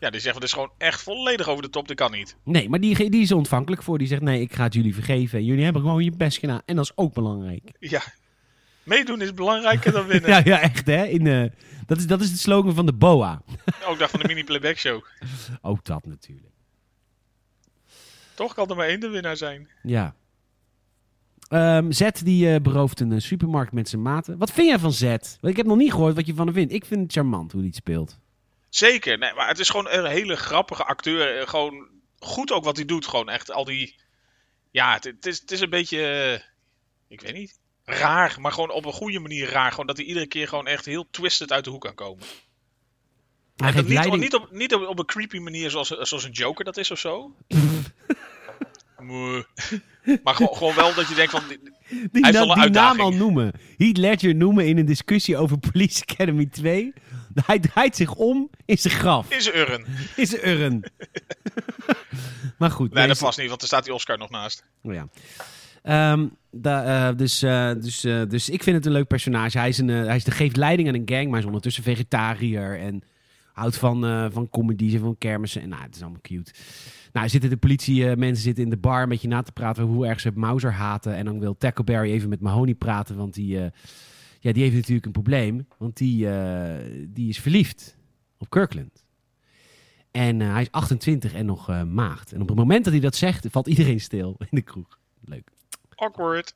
Ja, die zeggen dus gewoon echt volledig over de top. Dat kan niet.
Nee, maar die, die is er ontvankelijk voor. Die zegt, nee, ik ga het jullie vergeven. En jullie hebben gewoon je best gedaan. En dat is ook belangrijk.
Ja. Meedoen is belangrijker dan
[LAUGHS]
winnen.
Ja, ja echt hè. In, eh, dat, is, dat is de slogan van de BOA.
Ook dat van de mini-playback show.
Ook dat natuurlijk.
Toch kan er maar één de winnaar zijn.
Ja. Ehm Zet die eh, berooft een eh, supermarkt met zijn maten. Wat vind jij van Zet? Want ik heb nog niet gehoord wat je van hem vindt. Ik vind het charmant hoe hij het speelt.
Zeker. Nee, maar het is gewoon een hele grappige acteur. Eh, Gewoon goed ook wat hij doet. Gewoon echt al die... Ja, het, het is, het is een beetje... eh, ik weet niet. Raar, maar gewoon op een goede manier raar. Gewoon dat hij iedere keer gewoon echt heel twisted uit de hoek kan komen.
Hij
En dat
geeft
niet,
leiding.
niet, op, niet op, op een creepy manier zoals, zoals een Joker dat is of
[LAUGHS]
zo. Moe. maar gewoon, gewoon wel dat je denkt van...
die
Hij
na-
is wel een
die naam al
uitdaging.
noemen. Heath Ledger noemen in een discussie over Police Academy 2. Hij draait zich om in zijn graf.
Is een urn.
In zijn urn. maar goed.
Nee, dat
deze-
past niet, want er staat die Oscar nog naast.
Oh ja. Ehm, da- eh, dus, eh, dus, eh, dus ik vind het een leuk personage. Hij, is een, eh, hij is de, geeft leiding aan een gang, maar hij is ondertussen vegetariër. En houdt van, eh van comedies en van kermissen. En nou, het is allemaal cute. Nou, zitten de politiemensen mensen zitten in de bar een beetje na te praten over hoe erg ze Mauser haten. En dan wil Tackleberry even met Mahoney praten, want die, eh, ja, die heeft natuurlijk een probleem. Want die, eh, die is verliefd op Kirkland. En eh, hij is 28 en nog eh, maagd. En op het moment dat hij dat zegt, valt iedereen stil in de kroeg. Leuk.
Awkward.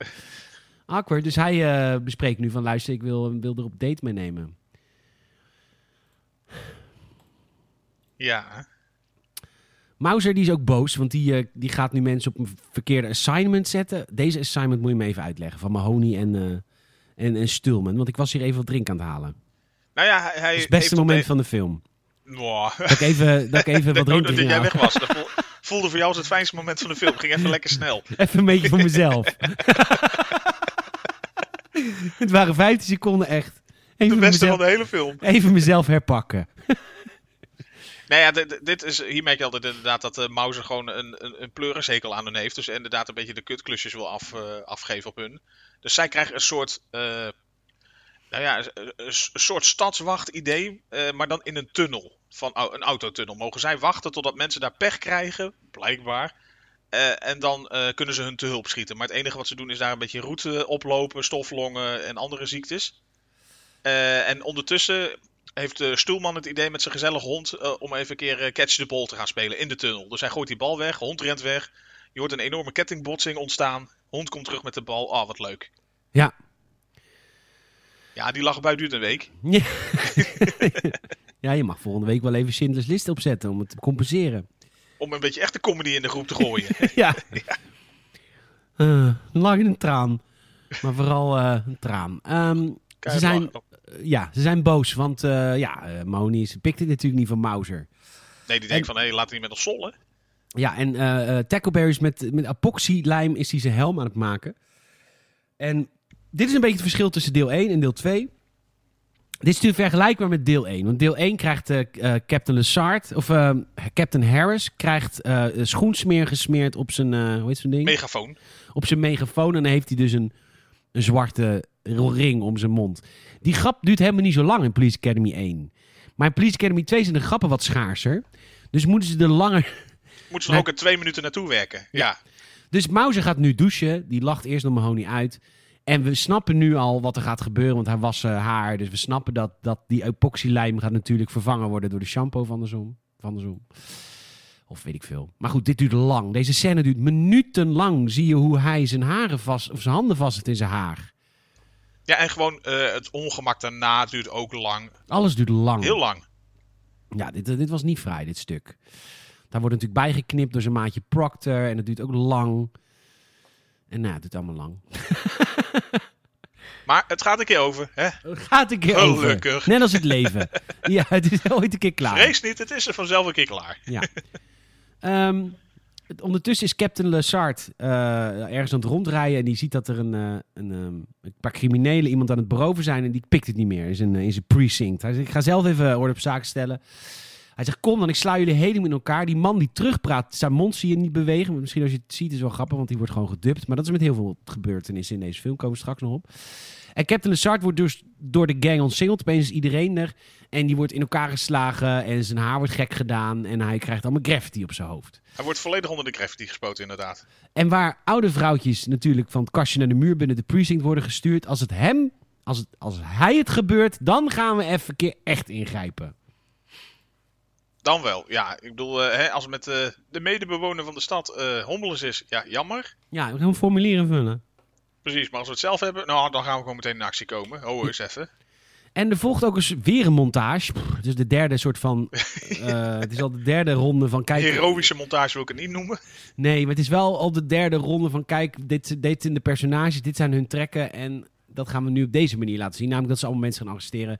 Awkward. Dus hij eh, bespreekt nu van luister, ik wil, wil er op date mee nemen.
Ja.
Mauser die is ook boos, want die, eh, die gaat nu mensen op een verkeerde assignment zetten. Deze assignment moet je me even uitleggen van Mahoney en, eh, en, en Stulman. Want ik was hier even wat drink aan het halen.
Nou ja, hij...
Dat is het beste moment van de film. Dat ik even,
[LAUGHS]
dat ik even wat nou? drink
Dat, Oh, dat
ging
jij weg
halen.
was. Dat voel- voelde voor jou als het fijnste moment van de film. Ging even lekker snel.
[LAUGHS] Even een beetje voor mezelf. [LAUGHS] het waren 15 seconden echt. Even,
Het beste van
mezelf,
de hele film.
even mezelf herpakken.
Nou ja, dit, dit is, hier merk je altijd inderdaad dat eh Mauser gewoon een, een, een pleurenzekel aan hun heeft. Dus inderdaad een beetje de kutklusjes wil af, eh, afgeven op hun. Dus zij krijgen een soort, eh, nou ja, een, een- een soort stadswacht idee, eh, maar dan in een tunnel. Van au- een autotunnel. Mogen zij wachten totdat mensen daar pech krijgen, blijkbaar. Eh, en dan eh, kunnen ze hun te hulp schieten. Maar het enige wat ze doen is daar een beetje route oplopen, stoflongen en andere ziektes. Eh, en ondertussen heeft de Stoelman het idee met zijn gezellige hond eh, om even een keer eh, catch the ball te gaan spelen in de tunnel. Dus hij gooit die bal weg, hond rent weg. Je hoort een enorme kettingbotsing ontstaan. Hond komt terug met de bal. Ah, wat leuk.
Ja,
Ja, die lachbui duurt een week.
Ja. ja, je mag volgende week wel even Schindler's List opzetten om het te compenseren.
Om een beetje echte comedy in de groep te gooien.
[LAUGHS] ja. Eh, lang in een traan. Maar vooral eh, een traan. Ehm, ze,
Keihard
zijn,
lachen.
eh, ja, ze zijn boos, want eh, ja, eh, Moni is, pikt het natuurlijk niet van Mauser.
Nee, die denkt van, hé, hey, laat die met ons zollen.
Ja, en eh eh, Tackleberry is met, met epoxylijm is hij zijn helm aan het maken. En dit is een beetje het verschil tussen deel 1 en deel 2. Dit is natuurlijk vergelijkbaar met deel 1. Want deel 1 krijgt eh, k- eh, Captain Lessard, of eh, Captain Harris, krijgt eh, schoensmeer gesmeerd op zijn, eh, hoe heet zo'n ding?
Megafoon.
op zijn megafoon. En dan heeft hij dus een, een zwarte ring om zijn mond. Die grap duurt helemaal niet zo lang in Police Academy 1. Maar in Police Academy 2 zijn de grappen wat schaarser. Dus moeten ze de langer,
Moeten ze
Nee.
er ook in twee minuten naartoe werken. Ja.
Dus Mauser gaat nu douchen. Die lacht eerst nog Mahoney uit. En we snappen nu al wat er gaat gebeuren, want hij was eh, haar. Dus we snappen dat, dat die epoxylijm gaat natuurlijk vervangen worden door de shampoo van de zon. Van de zon. Of weet ik veel. Maar goed, dit duurt lang. Deze scène duurt minutenlang. Zie je hoe hij zijn, haren vast, of zijn handen vast heeft in zijn haar.
Ja, en gewoon eh, het ongemak daarna duurt ook lang.
Alles duurt lang.
Heel lang.
Ja, dit, eh, dit was niet vrij, dit stuk. Daar wordt natuurlijk bijgeknipt door zijn maatje Proctor. En dat duurt ook lang. En nou, het duurt allemaal lang.
Maar het gaat een keer over. Hè?
Gaat een keer over.
Gelukkig.
Net als het leven. ja, het is ooit een keer klaar.
Vrees niet, het is er vanzelf een keer klaar.
Ja. Ehm, het- ondertussen is Captain Lessard eh, ergens aan het rondrijden. En die ziet dat er een, eh, een, ehm, een paar criminelen iemand aan het beroven zijn. En die pikt het niet meer in zijn, eh, in zijn precinct. Hij zegt, ik ga zelf even orde op zaken stellen. Hij zegt, kom dan, ik sla jullie helemaal in elkaar. Die man die terugpraat, zijn mond zie je niet bewegen. Maar Misschien als je het ziet is wel grappig, want die wordt gewoon gedubt. Maar dat is met heel veel gebeurtenissen in deze film. Komen we straks nog op. En Captain Lizard wordt dus door de gang omsingeld. Opeens is iedereen er. En die wordt in elkaar geslagen. En zijn haar wordt gek gedaan. En hij krijgt allemaal graffiti op zijn hoofd.
Hij wordt volledig onder de graffiti gespoten, inderdaad.
En waar oude vrouwtjes natuurlijk van het kastje naar de muur binnen de precinct worden gestuurd. Als het hem, als, het, als hij het gebeurt, dan gaan we even een keer echt ingrijpen.
Dan wel, ja. Ik bedoel, eh, hè, als het met eh, de medebewoner van de stad eh hommelens is, ja, jammer.
Ja, we gaan een formulier invullen.
Precies, maar als we het zelf hebben, nou, dan gaan we gewoon meteen in actie komen. Oh, eens even.
En er volgt ook eens weer een montage. Pff, dus de derde soort van. eh, het is al de derde ronde van kijk. eh,
Heroïsche montage wil ik het niet noemen.
Nee, maar het is wel al de derde ronde van kijk. Dit, dit zijn de personages, dit zijn hun trekken. En dat gaan we nu op deze manier laten zien. Namelijk dat ze allemaal mensen gaan arresteren.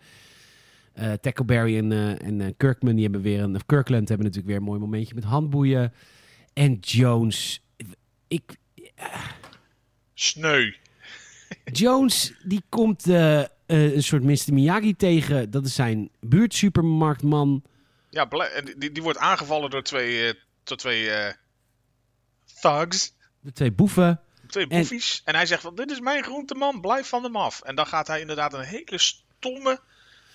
Eh Tackleberry en, eh, en eh, Kirkman die hebben weer een. Of Kirkland hebben natuurlijk weer een mooi momentje met handboeien. En Jones. Ik,
Sneu.
Jones die komt eh, eh, een soort Mr. Miyagi tegen. Dat is zijn buurtsupermarktman.
Ja, bla- en die, die wordt aangevallen door twee, eh, door twee eh, thugs.
De twee boeven.
Twee
En-
boefies. En... hij zegt van, dit is mijn groenteman, blijf van hem af. En dan gaat hij inderdaad een hele stomme,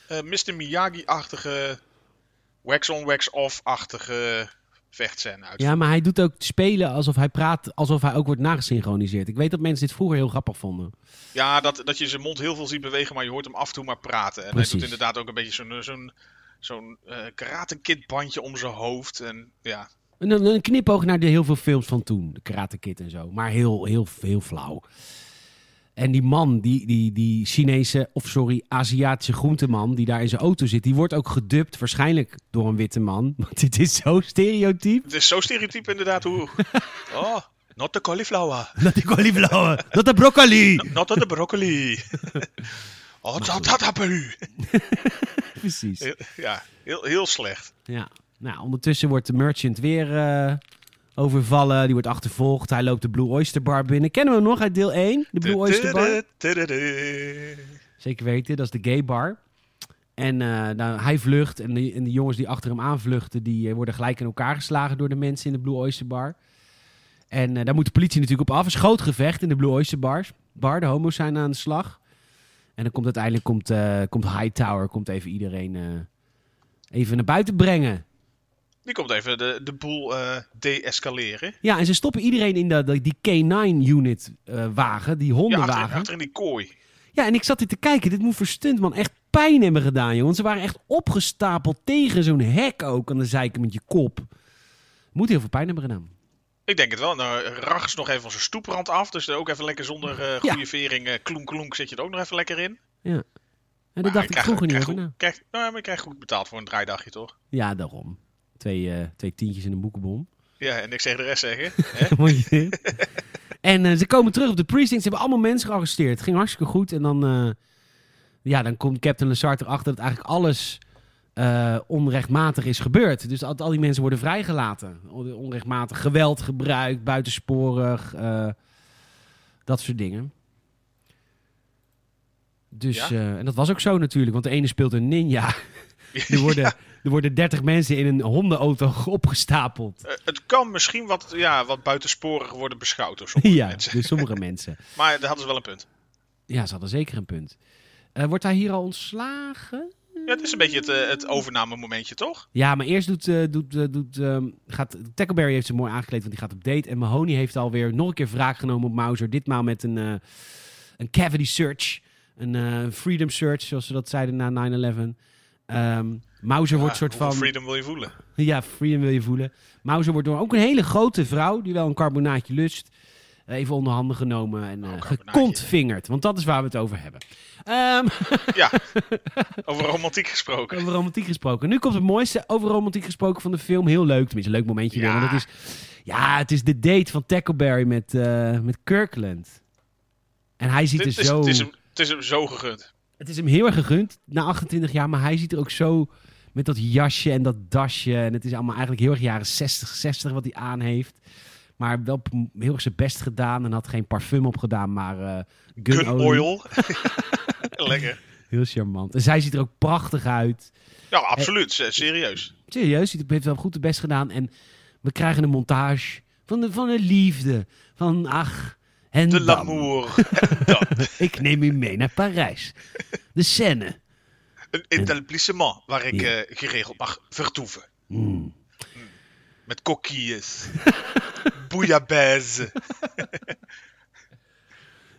eh Mr. Miyagi-achtige, wax-on, wax-off-achtige vechtscène uit.
Ja, maar hij doet ook spelen alsof hij praat, alsof hij ook wordt nagesynchroniseerd. Ik weet dat mensen dit vroeger heel grappig vonden.
Ja, dat, dat je zijn mond heel veel ziet bewegen, maar je hoort hem af en toe maar praten. En
Precies.
hij doet inderdaad ook een beetje zo'n eh, zo'n zo'n eh, karate kid bandje om zijn hoofd. En ja,
Een, een een knipoog naar de heel veel films van toen, de Karate Kid en zo. Maar heel, heel, heel flauw. En die man, die, die, die Chinese, of sorry, Aziatische groenteman die daar in zijn auto zit, die wordt ook gedubt, waarschijnlijk door een witte man. [LAUGHS] Want dit is zo stereotyp.
het is zo stereotyp inderdaad hoe... Oh, not the cauliflower,
[LAUGHS] Dat ik olieblauwe, [LAUGHS] dat de broccoli.
not the
[LAUGHS]
broccoli. Oh, dat dat happen.
Precies.
Ja, heel, heel slecht.
Ja. Nou, ondertussen wordt de merchant weer eh, overvallen. Die wordt achtervolgd. Hij loopt de Blue Oyster Bar binnen. Kennen we hem nog uit deel 1? De Blue Oyster Bar. Zeker weten, dat is de gay bar. En eh, nou, hij vlucht en de, en de jongens die achter hem aanvluchten... die eh, worden gelijk in elkaar geslagen door de mensen in de Blue Oyster Bar. En eh, daar moet de politie natuurlijk op af. Een schootgevecht in de Blue Oyster Bars. Bar, de homo's zijn aan de slag. En dan komt uiteindelijk komt, eh komt Hightower komt even iedereen eh, even naar buiten brengen.
Die komt even de, de boel eh deescaleren.
Ja, en ze stoppen iedereen in dat dat- die K9-unit-wagen, eh, die
Ja,
hondenwagen.
achter, achter in die kooi.
Ja, en ik zat dit te kijken. Dit moet verstunt, man. Echt pijn hebben gedaan, jongen. Want ze waren echt opgestapeld tegen zo'n hek ook aan de zijkant met je kop. Moet heel veel pijn hebben gedaan.
Ik denk het wel. Nou, Rach is nog even van zijn stoeprand af. Dus er ook even lekker zonder eh, goede vering. eh kloenk kloenk zit je er ook nog even lekker in.
En dat
Maar
dacht ik
krijgt-
vroeger niet
krijgt
over
goed-
na.
krijgt- nou, ja, maar je krijgt goed betaald voor een draaidagje, toch?
Ja, daarom. Twee, eh, twee tientjes in een boekenbon.
Ja, en ik zeg de rest zeggen. [LAUGHS] hè?
[LAUGHS] Moet je dit? en eh, ze komen terug op de precinct. Ze hebben allemaal mensen gearresteerd. Het ging hartstikke goed. En dan, eh, ja, dan komt Captain Lessard erachter dat eigenlijk alles eh, onrechtmatig is gebeurd. Dus al, al die mensen worden vrijgelaten. On- Onrechtmatig geweld gebruikt, buitensporig, eh, dat soort dingen. Dus,
Ja.
eh, en dat was ook zo natuurlijk, want de ene speelt een
[LAUGHS]
ninja. [LAUGHS] Er worden, er worden 30 mensen in een hondenauto [LAUGHS] opgestapeld. [LAUGHS]
Eh, het kan misschien wat, ja, wat buitensporig worden beschouwd door sommige
[LAUGHS] Ja,
mensen.
dus sommige mensen.
Maar daar hadden ze wel een punt.
Ja, ze hadden zeker een punt. Eh, wordt hij hier al ontslagen?
Ja, het is een beetje het, eh, het overnamemomentje, toch?
Ja, maar eerst doet, eh, doet, eh, doet ehm, gaat, Tackleberry heeft ze mooi aangekleed, want die gaat op date. En Mahoney heeft alweer nog een keer wraak genomen op Mauser. Ditmaal met een, eh, een cavity search. Een eh, freedom search, zoals ze dat zeiden na 9-11. Ehm Mauser wordt
Ja,
soort
hoeveel
van...
freedom wil je voelen?
Ja, freedom wil je voelen. Mauser wordt door ook een hele grote vrouw, die wel een carbonaatje lust, eh, even onder handen genomen en eh,
carbonaatje.
gekontvingerd. Want dat is waar we het over hebben. Ehm,
Ja, over romantiek gesproken.
Over romantiek gesproken. Nu komt het mooiste over romantiek gesproken van de film. Heel leuk, tenminste, een leuk momentje. weer,
Ja.
want het is, ja, het is de date van Tackleberry met, eh, met Kirkland. En hij ziet
Dit
er
is,
zo...
het, is hem, het is hem zo gegund.
heel erg gegund, na 28 jaar. Maar hij ziet er ook zo met dat jasje en dat dasje. En het is allemaal eigenlijk heel erg jaren 60, 60 wat hij aan heeft. Maar wel p- heel erg zijn best gedaan en had geen parfum opgedaan, maar eh gun,
Gun
olie. [LAUGHS] Dus
oil. Lekker.
Heel charmant. En zij ziet er ook prachtig uit.
Ja, absoluut. eh, Serieus.
Serieus, hij heeft wel goed het best gedaan. En we krijgen een montage van de, van de liefde. Van ach, en
De
dan.
Lamour. [LAUGHS]
Ik neem u mee naar Parijs. De scène.
Een etablissement waar ik
Ja.
eh, geregeld mag vertoeven.
Hmm.
Met coquilles. [LAUGHS] Bouillabaisse.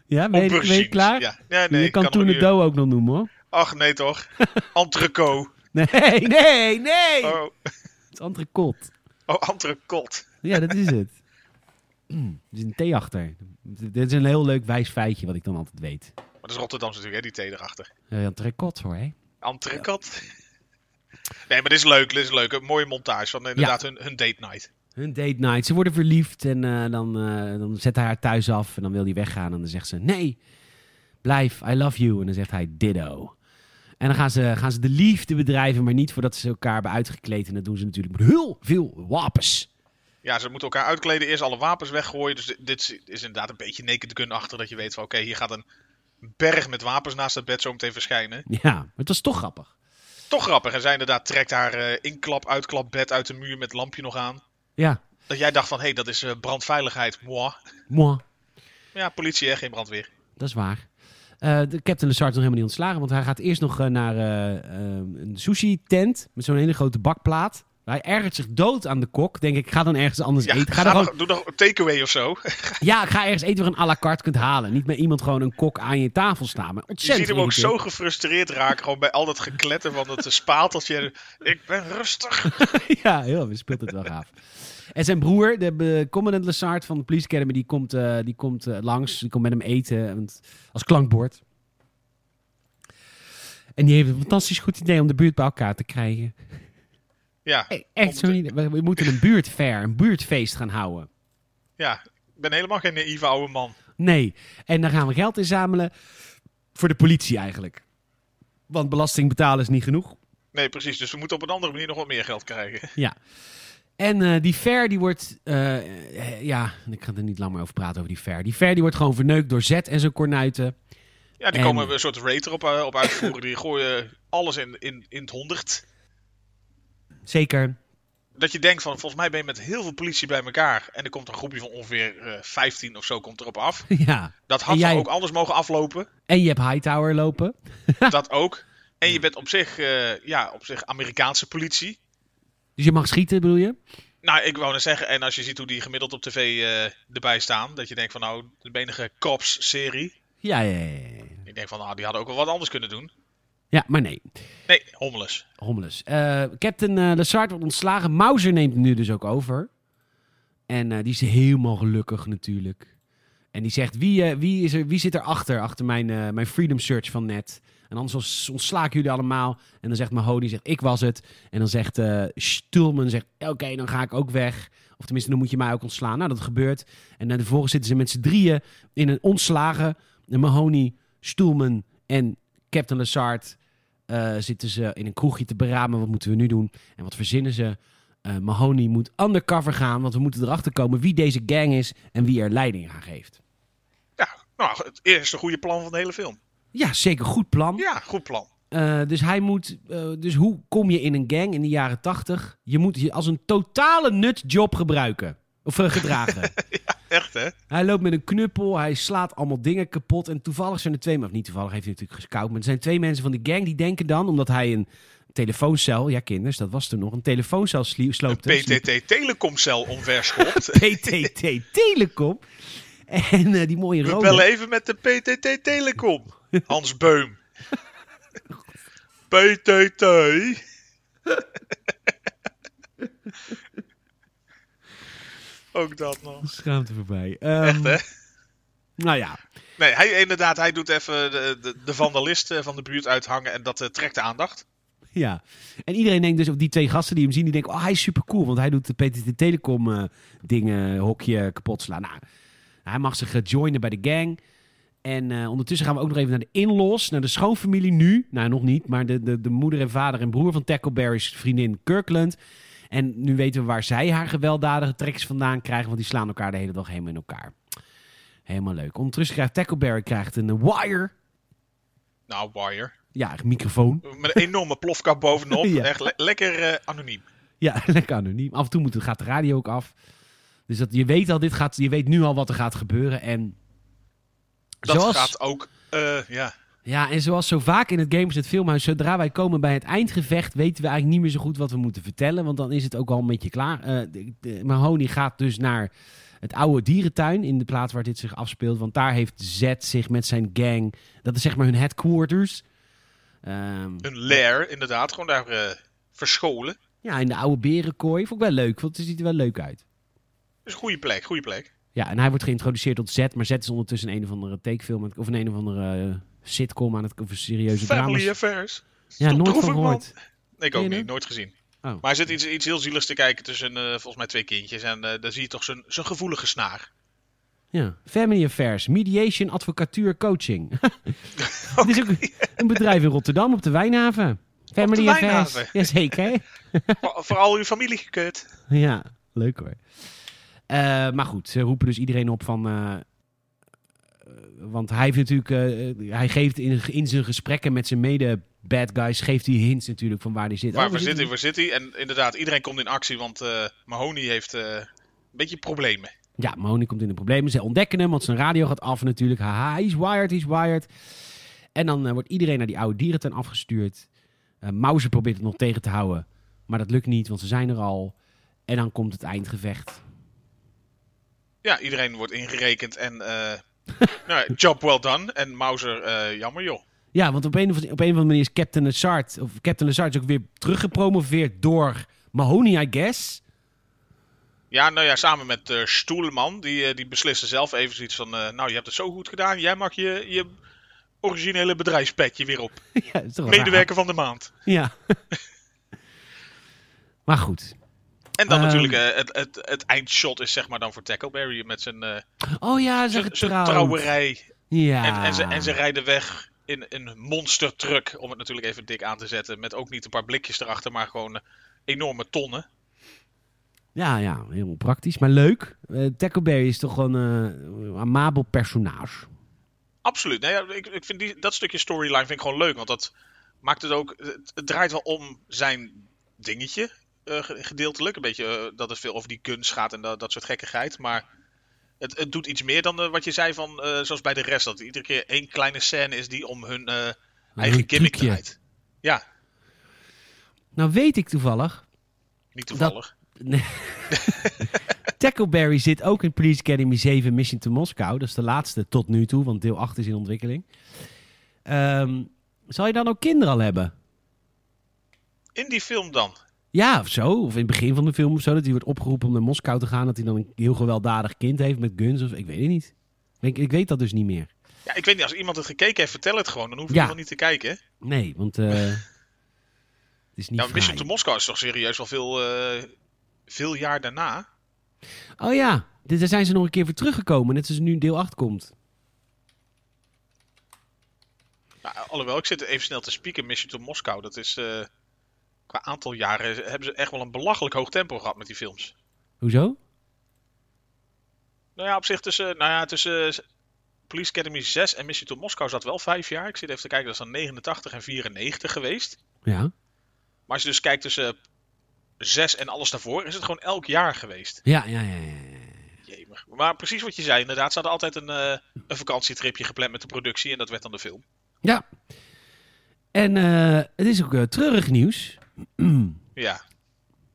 Ja, ben je, ben je
aubergines.
klaar?
Ja. Ja, nee,
je
ik
kan,
nog
toen
een
de
uur.
dough ook nog noemen hoor.
Ach nee
[LAUGHS]
toch. Entrecot.
Nee,
[LAUGHS]
nee, nee.
Oh,
Het is entrecôte.
oh entrecot.
Ja, dat is het. Het is een theachter. D- Dit is een heel leuk wijs feitje wat ik dan altijd weet.
Maar dat is Rotterdamse natuurlijk, hè, die thee erachter.
Ja, entrecôte hoor, hè?
Entrecot. Nee, maar dit is leuk, dit is leuk. Een mooie montage van inderdaad hun, hun date night.
Hun date night. Ze worden verliefd en eh, dan, eh, dan zet hij haar thuis af en dan wil hij weggaan. En dan zegt ze, nee, blijf, I love you. En dan zegt hij, ditto. En dan gaan ze, gaan ze de liefde bedrijven, maar niet voordat ze elkaar hebben uitgekleed. En dat doen ze natuurlijk met heel veel wapens.
Ja, ze moeten elkaar uitkleden, eerst alle wapens weggooien. Dus dit- dit is, is inderdaad een beetje naked gun achter dat je weet van oké, hier gaat een berg met wapens naast het bed zo meteen verschijnen.
Ja, maar het was toch grappig.
Toch grappig. En zij inderdaad trekt haar eh, inklap, uitklap bed uit de muur met lampje nog aan.
Ja,
Dat jij dacht van hé, hey, dat is eh, brandveiligheid. Moi.
moi.
Ja, politie hè, geen brandweer.
Dat is waar. Eh, de Captain Lessard is nog helemaal niet ontslagen, want hij gaat eerst nog eh, naar eh, eh, een sushi-tent met zo'n hele grote bakplaat. Hij ergert zich dood aan de kok. Denk ik, ga dan ergens anders
Ja,
eten. Ga
ga
dan
nog-
gewoon,
doe nog een takeaway of zo. [LAUGHS]
ja, ga ergens eten waar een à la carte kunt halen. Niet met iemand gewoon een kok aan je tafel staan. Maar
Je
ontzettend
ziet hem ook
irritant.
zo gefrustreerd raken, gewoon bij al dat gekletter van dat eh, spateltje. Ik ben rustig.
[LAUGHS] ja, heel, we speelt het wel gaaf. En zijn broer, de eh, commandant Lessard van de Police Academy, die komt, eh, die komt eh, langs. Die komt met hem eten want- als klankbord. En die heeft een fantastisch goed idee om de buurt bij elkaar te krijgen.
Ja,
E- Echt zo'n idee. We, we moeten een buurtfair, een buurtfeest gaan houden.
ja, ik ben helemaal geen naïeve oude man.
Nee. En dan gaan we geld inzamelen voor de politie eigenlijk. Want belasting betalen is niet genoeg.
Nee, precies. Dus we moeten op een andere manier nog wat meer geld krijgen.
En eh, die fair die wordt... eh, eh, ja, ik ga er niet lang meer over praten over die fair. Die fair die wordt gewoon verneukt door Z en zijn kornuiten.
Ja, die
En-
komen we een soort raid erop eh, op uitvoeren. Die gooien alles in, in, in het honderd.
Zeker.
Dat je denkt van, volgens mij ben je met heel veel politie bij elkaar. En er komt een groepje van ongeveer eh 15 of zo komt erop af.
[LAUGHS] ja.
Dat had
En jij-
toch ook anders mogen aflopen.
En je hebt Hightower lopen.
dat ook. En je bent op zich, eh, ja, op zich Amerikaanse politie.
Dus je mag schieten, bedoel je?
Nou, ik wou net zeggen, en als je ziet hoe die gemiddeld op tv eh, erbij staan, dat je denkt van nou, de enige Cops-serie.
Ja, ja, ja, ja.
Ik denk van nou, die hadden ook wel wat anders kunnen doen.
Ja, maar nee.
Nee, Hommeles.
Hommeles. Eh, Captain eh Lassard wordt ontslagen. Mauser neemt hem nu dus ook over. En eh, die is helemaal gelukkig natuurlijk. En die zegt, wie, eh, wie, is er, wie zit er achter, achter mijn, eh, mijn freedom search van net? En anders ons- ontsla ik jullie allemaal. En dan zegt Mahoney, zegt, ik was het. En dan zegt eh Stulman, zegt, oké, dan ga ik ook weg. Of tenminste, dan moet je mij ook ontslaan. Nou, dat gebeurt. En dan vervolgens zitten ze met z'n drieën in een ontslagen. En Mahoney, Stulman en Captain Lassard eh, zitten ze in een kroegje te beramen. Wat moeten we nu doen? En wat verzinnen ze? Eh, Mahoney moet undercover gaan, want we moeten erachter komen wie deze gang is en wie er leiding aan geeft.
Ja, nou, het eerste goede plan van de hele film.
Ja, zeker goed plan.
Ja, goed plan.
Eh, dus hij moet. eh, dus hoe kom je in een gang in de jaren tachtig? Je moet je als een totale nutjob gebruiken. Of eh, gedragen.
Echt hè?
hij loopt met een knuppel, hij slaat allemaal dingen kapot. En toevallig zijn er twee, of niet toevallig, heeft hij natuurlijk gescout. Maar er zijn twee mensen van de gang die denken dan, omdat hij een telefooncel, ja kinders, dat was toen nog, een telefooncel slie- sloopte. Dus
PTT Telecomcel
[LAUGHS]
omverschopt.
PTT Telecom. En eh, die mooie
We
rode.
bellen even met de PTT
[LAUGHS]
Telecom. Hans Beum. PTT. [LAUGHS] Ook dat nog.
Schaamte voorbij. Ehm,
Echt hè?
Nou ja.
Nee, hij, inderdaad, hij doet even de, de, de vandalist eh, van de buurt uithangen en dat eh, trekt de aandacht.
ja. En iedereen denkt dus, op die twee gasten die hem zien, die denken, oh hij is super cool, want hij doet de PTT Telecom eh, dingen, hokje kapot slaan. Nou, hij mag zich eh, joinen bij de gang. En eh, ondertussen gaan we ook nog even naar de in-laws, naar de schoonfamilie nu. Nou, nog niet, maar de, de, de moeder en vader en broer van Tackleberry's vriendin Kirkland. En nu weten we waar zij haar gewelddadige tracks vandaan krijgen, want die slaan elkaar de hele dag helemaal in elkaar. Helemaal leuk. Ondertussen krijgt Tackleberry krijgt een eh, wire,
Nou, wire.
ja, een microfoon.
Met een enorme plofkap bovenop.
[LAUGHS] Ja.
Echt le- lekker eh, anoniem.
Ja, [LAUGHS] lekker anoniem. Af en toe moet, gaat de radio ook af. Dus dat, je, weet al, dit gaat, je weet nu al wat er gaat gebeuren. En
Dat
zoals,
gaat ook. eh, ja.
Ja, en zoals zo vaak in het Games het Filmhuis, zodra wij komen bij het eindgevecht, weten we eigenlijk niet meer zo goed wat we moeten vertellen. Want dan is het ook al een beetje klaar. Eh, de- de- Mahoney gaat dus naar het oude dierentuin in de plaats waar dit zich afspeelt. Want daar heeft Zed zich met zijn gang, dat is zeg maar hun headquarters. Ehm,
Een lair, inderdaad. Gewoon daar eh, verscholen.
ja, in de oude berenkooi. Vond ik wel leuk, want het ziet er wel leuk uit.
Dus goede plek, goede plek.
Ja, en hij wordt geïntroduceerd tot Zed, maar Zed is ondertussen een of andere takefilm aan het- of een, een of andere eh, sitcom aan het of een serieuze drama.
Family Affairs.
Ja, nooit
Toch
van
droevig, man.
gehoord.
Ik
Ken
ook
je
niet,
dat?
nooit gezien.
Oh.
Maar er zit iets, iets heel zieligs te kijken tussen eh, volgens mij twee kindjes. En eh, daar zie je toch zo'n zo'n gevoelige
[LAUGHS]
snaar.
Ja, Family Affairs, Mediation, Advocatuur, Coaching. [LAUGHS] Het is ook een- een bedrijf in Rotterdam op de Wijnhaven. Family
Wijnhaven.
[LAUGHS] Affairs. Jazeker. hè?
Voor, voor al uw familie gekut.
ja, leuk hoor. Eh, maar goed, ze roepen dus iedereen op van. eh, eh, want hij heeft natuurlijk. eh, hij geeft in, in zijn gesprekken met zijn mede-bad guys. geeft hij hints natuurlijk van waar hij zit.
Waar,
Oh, we
waar zit hij,
zitten-
waar zit hij? En inderdaad, iedereen komt in actie, want eh, Mahoney heeft eh, een beetje problemen.
Ja, Mahoney komt in de problemen. Ze ontdekken hem, want zijn radio gaat af natuurlijk. Haha, hij is wired, hij is wired. En dan eh, wordt iedereen naar die oude dierentuin afgestuurd. Eh Mauser probeert het nog tegen te houden. Maar dat lukt niet, want ze zijn er al. En dan komt het eindgevecht.
Ja, iedereen wordt ingerekend en eh, [LAUGHS] nou, ja, job well done. En Mauser, eh, jammer joh.
Ja, want op een, of, op een of andere manier is Captain Lazard... of Captain Lazard is ook weer teruggepromoveerd door Mahoney, I guess. [LAUGHS]
Ja, nou ja, samen met eh Stoelman, die, eh, die beslissen zelf even zoiets van... eh, nou, je hebt het zo goed gedaan, jij mag je, je originele bedrijfspetje weer op.
ja, dat is toch wel raar.
Medewerker van de maand.
Ja. [LAUGHS] maar goed.
En dan
Ehm.
natuurlijk eh, het, het, het eindshot is zeg maar dan voor Tackleberry met zijn, eh,
Oh ja, ze zijn
zijn, zijn
getrouwd.
trouwerij.
Ja.
En, en, ze, en ze rijden weg in een monstertruck, om het natuurlijk even dik aan te zetten. Met ook niet een paar blikjes erachter, maar gewoon eh, enorme tonnen.
Ja, ja, helemaal praktisch, maar leuk. Eh Tackleberry is toch gewoon eh, een amabel personage.
Absoluut. Nou ja, ik, ik vind die, dat stukje storyline vind ik gewoon leuk, want dat maakt het ook... Het, het draait wel om zijn dingetje, eh, ge- gedeeltelijk. Een beetje eh, dat het veel over die guns gaat en dat, dat soort gekkigheid, maar... Het, het doet iets meer dan eh, wat je zei van, eh, zoals bij de rest, dat er iedere keer één kleine scène is die om hun eh, eigen
Een
gimmick
trucje.
draait. Ja,
Nou weet ik
[LAUGHS]
toevallig,
niet toevallig.
Tackleberry zit ook in Police Academy 7 Mission to Moscow. Dat is de laatste tot nu toe, want deel 8 is in ontwikkeling. Ehm, zal je dan ook kinderen al hebben?
In die film dan.
Ja, of zo. Of in het begin van de film of zo, dat hij wordt opgeroepen om naar Moskou te gaan. Dat hij dan een heel gewelddadig kind heeft met guns of ik weet het niet. Ik, ik weet dat dus niet meer.
Ja, ik weet niet, als iemand het gekeken heeft, vertel het gewoon. Dan hoef je
Ja.
wel niet te kijken.
Nee, want
[LAUGHS]
eh, het is niet
Ja, Mission
fraai.
to Moscow is toch serieus wel veel, eh, veel jaar daarna?
Oh ja, dit- daar zijn ze nog een keer voor teruggekomen. Net als nu deel 8 komt.
Ja, Nou, alhoewel, ik zit even snel te spieken. Mission to Moscow, dat is... eh, qua aantal jaren hebben ze echt wel een belachelijk hoog tempo gehad met die films.
Hoezo?
Nou ja, op zich tussen... Nou ja, tussen eh, Police Academy 6 en Mission to Moscow zat wel vijf jaar. Ik zit even te kijken, dat is dan 89 en 94 geweest.
Ja.
Maar als je dus kijkt tussen 6 en alles daarvoor, is het gewoon elk jaar geweest.
Ja, ja, ja. ja.
Jemig. Maar precies wat je zei, inderdaad. Ze hadden altijd een, eh, een vakantietripje gepland met de productie. En dat werd dan de film.
ja. En eh, het is ook eh, treurig nieuws.
Ja.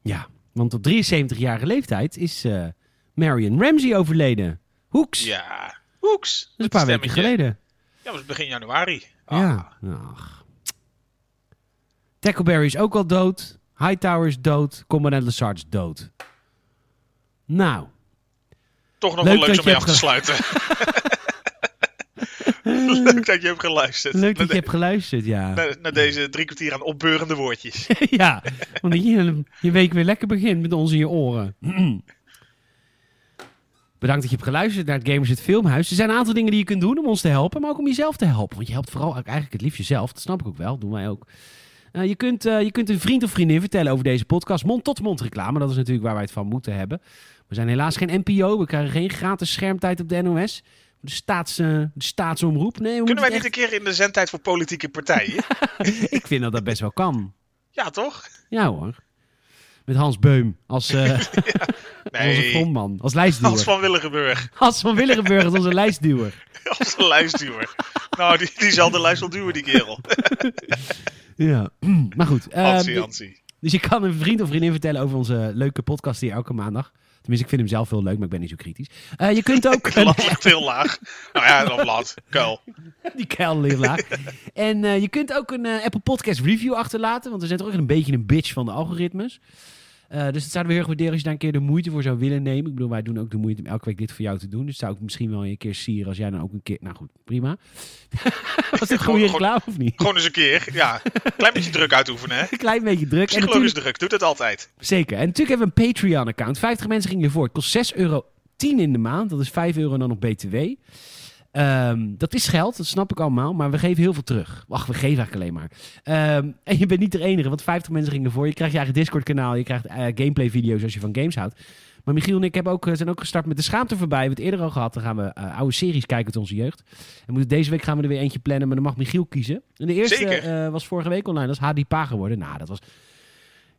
ja, want op 73-jarige leeftijd is eh, Marion Ramsey overleden. Hoeks.
Ja. Hoeks.
Dat is een
Met
paar weken
stemmetje.
geleden.
Ja, dat was begin januari. Ah,
Ja. Ach. Tackleberry is ook al dood. Hightower is dood. Commandant Lassard is dood. Nou,
Toch nog
Leuk
wel
dat
leuk
je
om mee
hebt
af te sluiten.
[LAUGHS]
leuk dat je hebt geluisterd.
leuk
naar,
dat je hebt geluisterd, ja.
de- naar- naar deze drie kwartier aan opbeurende
[LAUGHS]
woordjes.
ja, want je, je week weer lekker begint met ons in je oren. [CLEARS THROAT] Bedankt dat je hebt geluisterd naar het Gamers het Filmhuis. Er zijn een aantal dingen die je kunt doen om ons te helpen, maar ook om jezelf te helpen. Want je helpt vooral eigenlijk het liefst jezelf. Dat snap ik ook wel, dat doen wij ook. Eh, je, kunt, eh, je kunt een vriend of vriendin vertellen over deze podcast. Mond-tot-mond reclame, dat is natuurlijk waar wij het van moeten hebben. We zijn helaas geen NPO, we krijgen geen gratis schermtijd op de NOS. De, staats, eh, de staatsomroep. Nee, we
Kunnen wij
moeten
niet
het
een keer in de zendtijd voor
[LAUGHS]
politieke partijen?
echt- Ik vind dat dat best wel kan.
ja, toch?
Ja hoor. Met Hans Beum als, eh,
[LAUGHS]
als onze
Nee,
frontman, als
Hans
lijstduwer.
van Willigenburg. [LAUGHS]
Hans van Willigenburg [LAUGHS] als onze lijstduwer.
Als de lijstduwer. nou, die, die zal de lijst wel duwen, die kerel.
[LAUGHS] Ja. [CLEARS THROAT] Maar goed, eh,
Hansi, Hansi.
dus je kan een vriend of vriendin vertellen over onze leuke podcast hier elke maandag. Tenminste, ik vind hem zelf heel leuk, maar ik ben niet zo kritisch. Eh, je kunt
[LAUGHS]
ook...
De lat ligt heel laag. Nou ja, dan blad. Kuil.
Die kuil ligt laag. en eh, je kunt ook een eh, Apple Podcast review achterlaten. Want we zijn toch ook een beetje een bitch van de algoritmes. Eh, dus het zouden we heel erg waarderen als je daar een keer de moeite voor zou willen nemen. Ik bedoel, wij doen ook de moeite om elke week dit voor jou te doen. Dus zou ik misschien wel een keer sieren als jij dan ook een keer... Nou goed, prima. [LAUGHS] Was dit goede
Gewoon-
reclame of niet?
Gewoon eens een keer. Ja, klein beetje druk uitoefenen, hè.
Een klein beetje druk. En
Psychologisch
natuurlijk,
druk, doet het altijd.
zeker. En natuurlijk hebben we een Patreon-account. 50 mensen gingen ervoor. Het kost 6 euro 10 in de maand. Dat is 5 euro en dan nog BTW. Ehm, dat is geld, dat snap ik allemaal. Maar we geven heel veel terug. Wacht, we geven eigenlijk alleen maar. Ehm, en je bent niet de enige, want 50 mensen gingen ervoor. Je krijgt je eigen Discord-kanaal. Je krijgt eh, gameplay-video's als je van games houdt. Maar Michiel en ik hebben ook, eh, zijn ook gestart met de schaamte voorbij. We hebben het eerder al gehad. Dan gaan we eh, oude series kijken uit onze jeugd. En moeten- deze week gaan we er weer eentje plannen, maar dan mag Michiel kiezen. En de eerste
Zeker.
eh, was vorige week online. Dat is HD Pa geworden. Nou, dat was...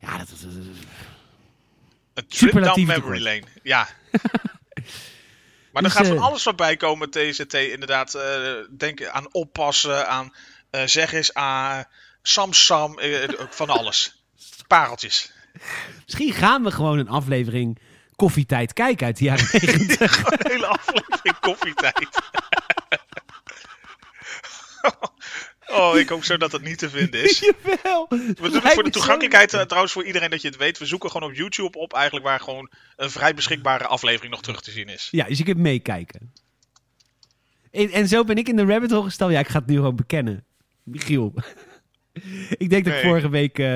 Ja, dat was... dat was-
Een trip down
Superlatieve
memory lane.
[LAUGHS]
Ja. Maar dan
Dus,
gaat van
eh,
alles voorbij komen, TZT. Inderdaad, eh, denk aan oppassen, aan eh, zeg eens aan Samsam, eh, van alles. Pareltjes. [LAUGHS]
Misschien gaan we gewoon een aflevering Koffietijd kijken uit de
[LAUGHS]
jaren 90.
Gewoon een hele aflevering koffietijd. [LAUGHS] Oh, ik hoop zo dat dat niet te
[LAUGHS]
vinden is.
Jawel.
We doen het voor de toegankelijkheid eh, trouwens voor iedereen dat je het weet. We zoeken gewoon op YouTube op eigenlijk waar gewoon een vrij beschikbare aflevering nog terug te zien is.
Ja, dus je kunt meekijken. En, en zo ben ik in de rabbit hole gesteld. Ja, ik ga het nu gewoon bekennen. Michiel. [LAUGHS] ik denk dat ik
Nee.
vorige week... eh,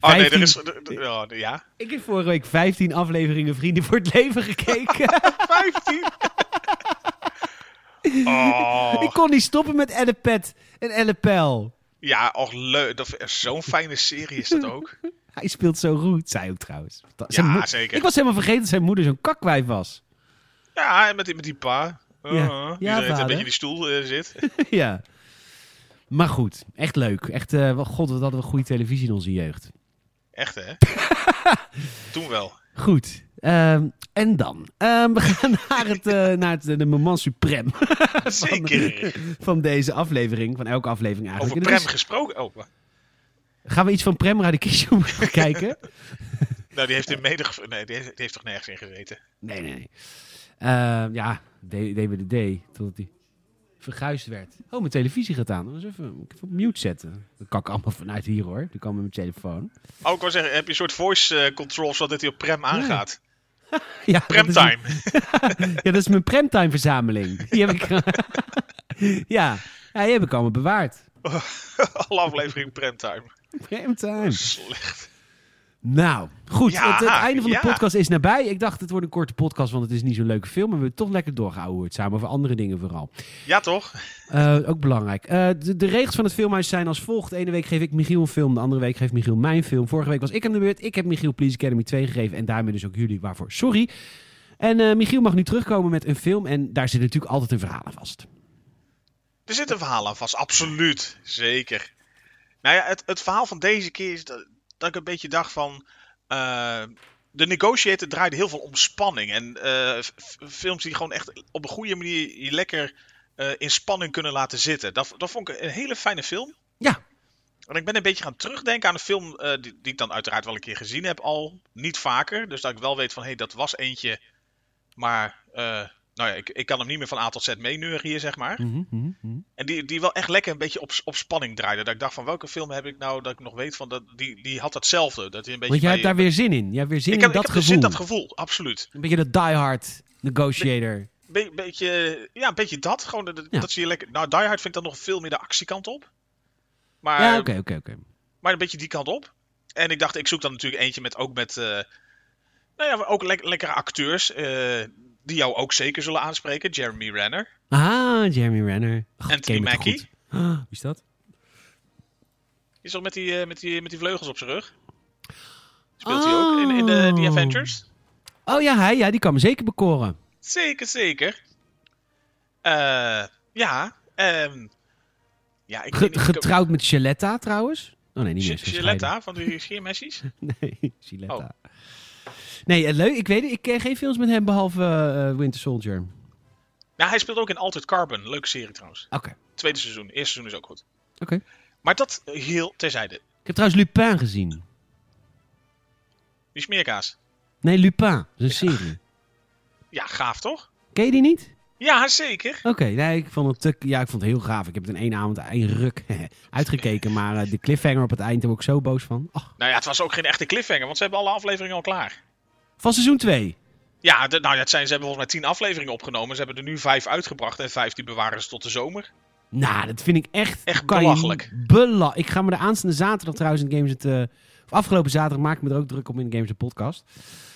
Oh nee,
15
er is... er- er- oh, ja.
Ik heb vorige week 15 afleveringen Vrienden voor het Leven gekeken. [LAUGHS]
15!
ik
[LAUGHS] Oh,
kon niet stoppen met Elle Pet en Elle Pel.
ja, och leuk. Dat is Zo'n fijne serie is dat
[LAUGHS]
ook.
Hij speelt zo goed, zij ook trouwens. Fanta-
Ja,
zijn moe-
zeker.
Ik was helemaal vergeten dat zijn moeder zo'n kakwijf was.
Ja, en met die, met die pa. Uh,
Ja. Ja,
die er- dat
vader.
je in die stoel eh,
[LAUGHS]
zit.
ja. Maar goed, echt leuk. Echt, eh, wel- god, wat hadden we goede televisie in onze jeugd.
Echt,
[LAUGHS]
hè? Toen wel.
Goed. ehm, en dan? Ehm, we gaan [LAUGHS] naar, het, eh, naar het, de moment suprême [LAUGHS]
Zeker.
van deze aflevering. Van elke aflevering eigenlijk.
Over
En dat
Prem gesproken. Oh, wa-
is- gaan we iets van Prem [LAUGHS] Radikishou kijken?
nou, die heeft in mede... gev- Nee, die heeft, die heeft toch nergens in gezeten?
Nee, nee, nee. Ehm, ja, D- DWDD. Totdat hij verguisd werd. Oh, mijn televisie gaat aan. Eens even, moet ik even op mute zetten. Dat kan ik allemaal vanuit hier hoor. Dat kan met mijn telefoon. [LAUGHS]
Oh, ik wou zeggen, heb je een soort voice eh, control zodat hij op Prem aangaat?
Ja, dat is-
Premtime. [LAUGHS]
Ja, dat is mijn premtime verzameling. Die heb ik. [LAUGHS] ja. ja, die heb ik allemaal bewaard.
Alle aflevering Premtime.
Premtime.
Slecht.
Nou, goed.
Ja,
het, het einde van de
ja.
podcast is nabij. Ik dacht, het wordt een korte podcast, want het is niet zo'n leuke film. Maar we hebben toch lekker doorgehouden samen over andere dingen vooral.
Ja, toch?
Eh, ook belangrijk. Eh, de, de regels van het filmhuis zijn als volgt. De ene week geef ik Michiel een film, de andere week geeft Michiel mijn film. Vorige week was ik aan de beurt. Ik heb Michiel Please Academy 2 gegeven en daarmee dus ook jullie waarvoor sorry. En eh, Michiel mag nu terugkomen met een film en daar zit natuurlijk altijd een verhaal aan vast.
Er zit een verhaal aan vast, absoluut. Zeker. Nou ja, het, het verhaal van deze keer is dat, dat ik een beetje dacht van... eh, de Negotiator draaide heel veel om spanning. En eh, f- f- films die gewoon echt op een goede manier je lekker eh, in spanning kunnen laten zitten. Dat, dat vond ik een hele fijne film.
Ja,
Want ik ben een beetje gaan terugdenken aan een film eh, die, die ik dan uiteraard wel een keer gezien heb al. Niet vaker. Dus dat ik wel weet van, hé, hey, dat was eentje. Maar, eh, nou ja, ik, ik kan hem niet meer van A tot Z meeneuren hier, zeg maar.
Mhm, mhm, mhm.
En die, die wel echt lekker een beetje op, op spanning draaide. Dat ik dacht van, welke film heb ik nou dat ik nog weet van, dat, die, die had datzelfde. Dat hij een beetje
Want jij
bij
hebt daar weer zin in. Jij hebt weer zin
Ik
in
heb,
dat
ik heb er
gevoel.
zin dat gevoel, absoluut.
Een beetje dat diehard negotiator.
Be- beetje, ja, een beetje dat. Gewoon, dat,
Ja.
dat zie je lekker. Nou, Die Hard vind ik dan nog veel meer de actiekant op. Maar
ja, oké, oké, oké.
maar een beetje die kant op. En ik dacht, ik zoek dan natuurlijk eentje met ook met. eh, nou ja, ook lek- lekkere acteurs. eh, die jou ook zeker zullen aanspreken. Jeremy Renner.
Ah, Jeremy Renner. God, ik
Anthony
ken hem toch
Mackie.
goed. Ah, wie is dat?
Die is toch met die, eh, met, die, met die vleugels op zijn rug? Speelt hij ook in, in de, die
Oh.
Avengers?
Oh ja, hij, ja, die kan me zeker bekoren.
Zeker, zeker. Eh, ja. ehm, ja, ik,
Ge-
weet niet, ik-
getrouwd met Shaletta trouwens. Oh nee, niet meer. is
Gi-
gescheiden.
Gilletta Oh. van de scheermessies?
Nee, Gilletta. [LAUGHS] Nee, eh, leuk. Ik weet het. Ik ken geen films met hem behalve eh, eh, Winter Soldier. Oké.
Ja, Nou, hij speelt ook in Altered Carbon. Leuke serie trouwens. Tweede seizoen. Eerste seizoen is ook goed.
Oké.
Maar dat eh, heel terzijde.
Ik heb trouwens Lupin gezien.
Die smeerkaas.
Nee, Lupin. Dat is een serie.
Ja, gaaf toch?
Ken je die niet?
Ja, zeker.
Oké, nee, ik vond het te- ja, ik vond het heel gaaf. Ik heb het in één avond, één ruk [LAUGHS] uitgekeken. Maar eh, de cliffhanger op het eind daar word ik zo boos van. Ach,
Nou ja, het was ook geen echte cliffhanger, want ze hebben alle afleveringen al klaar.
van seizoen 2.
Ja, de- nou, ja, het zijn, ze hebben volgens mij tien afleveringen opgenomen. Ze hebben er nu vijf uitgebracht en vijf die bewaren ze tot de zomer.
Nou, dat vind ik echt...
Echt
kan je
belachelijk.
niet- Bela ik ga me de aanstaande zaterdag trouwens in Games het... eh, of afgelopen zaterdag maak ik me er ook druk om in de Games het podcast.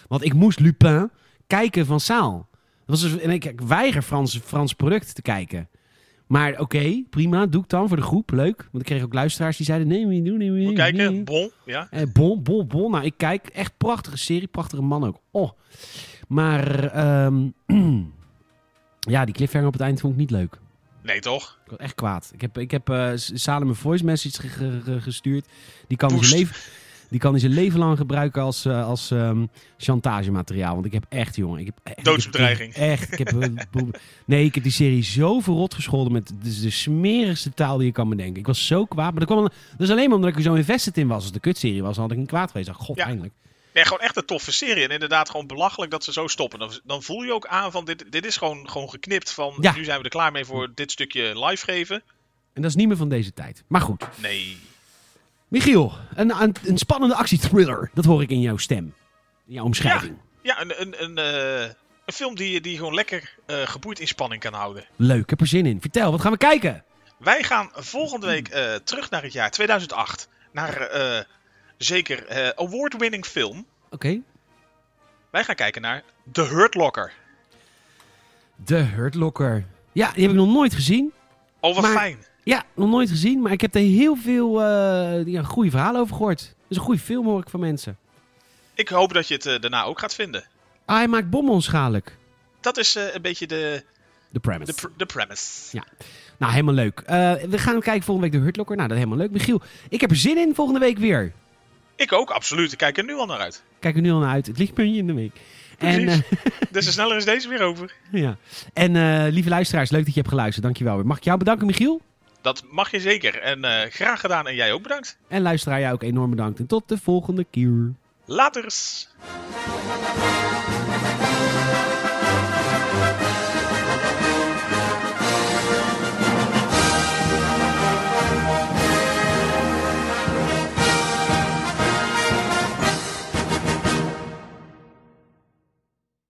Want ik moest Lupin kijken van zaal. Dat was dus, en ik, ik weiger Frans, Frans product te kijken. Maar oké, prima, doe ik dan voor de groep, leuk. Want ik kreeg ook luisteraars die zeiden, nee, niet doen, nee, nee,
Moet
nee.
kijken. Bon, ja.
Eh, bon, bon, bon. Nou, ik kijk. Echt prachtige serie. Prachtige man ook. Oh. Maar, ehm, [CLEARS THROAT] ja, die cliffhanger op het eind vond ik niet leuk.
Nee, toch?
Ik was echt kwaad. Ik heb, ik heb eh, S- Salem een voice message ge- ge- ge- gestuurd. Die kan, hij
Poest.
zijn leven, die kan hij zijn leven lang gebruiken als, eh, als ehm, chantagemateriaal. Want ik heb echt, jongen... Ik heb, echt-
Doodsbedreiging.
Echt. Ik heb, eh,
[LAUGHS]
boem- nee, ik heb die serie zo verrot gescholden met de, de smerigste taal die je kan bedenken. Ik was zo kwaad. Maar dat, kwam, dat is alleen maar omdat ik er zo invested in was. Als het de kutserie was, dan had ik niet kwaad geweest. Ik dacht, god,
Ja.
eindelijk.
Nee, gewoon echt een toffe serie. En inderdaad, gewoon belachelijk dat ze zo stoppen. Dan, dan voel je ook aan van, dit, dit is gewoon, gewoon geknipt van,
Ja.
nu zijn we er klaar mee voor dit stukje live geven.
En dat is niet meer van deze tijd. Maar goed.
Nee.
Michiel, een, een, een spannende actiethriller. Dat hoor ik in jouw stem. In jouw omschrijving.
Ja, een, een, een, eh, een film die, je- die je gewoon lekker eh, geboeid in spanning kan houden.
Leuk, ik heb er zin in. Vertel, wat gaan we kijken?
Wij gaan volgende week eh, terug naar het jaar 2008. Naar eh, zeker eh, award-winning film.
Oké.
Wij gaan kijken naar The Hurt Locker.
De Hurt Locker. Ja, die heb ik nog nooit gezien.
Oh, wat
Maar-
fijn.
Ja, nog nooit gezien, maar ik heb er heel veel eh, ja, goede verhalen over gehoord. Het is een goede film, hoor ik van mensen.
Ik hoop dat je het eh, daarna ook gaat vinden.
Ah, hij maakt bommen onschadelijk.
Dat is eh, een beetje
De
de, de,
premise.
pr- de premise.
nou, helemaal leuk. Eh, we gaan kijken volgende week de Hurt Locker. Nou, dat is helemaal leuk. Michiel, ik heb er zin in volgende week weer.
Ik ook, absoluut. Ik kijk er nu al naar uit.
Kijk er nu al naar uit. Het lichtpuntje in de week. En,
Precies.
eh,
[LAUGHS] Dus te sneller is deze weer
[LAUGHS]
over.
ja. en eh, lieve luisteraars, leuk dat je hebt geluisterd. Dankjewel weer. Mag ik jou bedanken, Michiel?
Dat mag je zeker. En eh, graag gedaan. En jij ook bedankt.
En luisteraar, jou ook enorm bedankt. En tot de volgende keer.
Laters.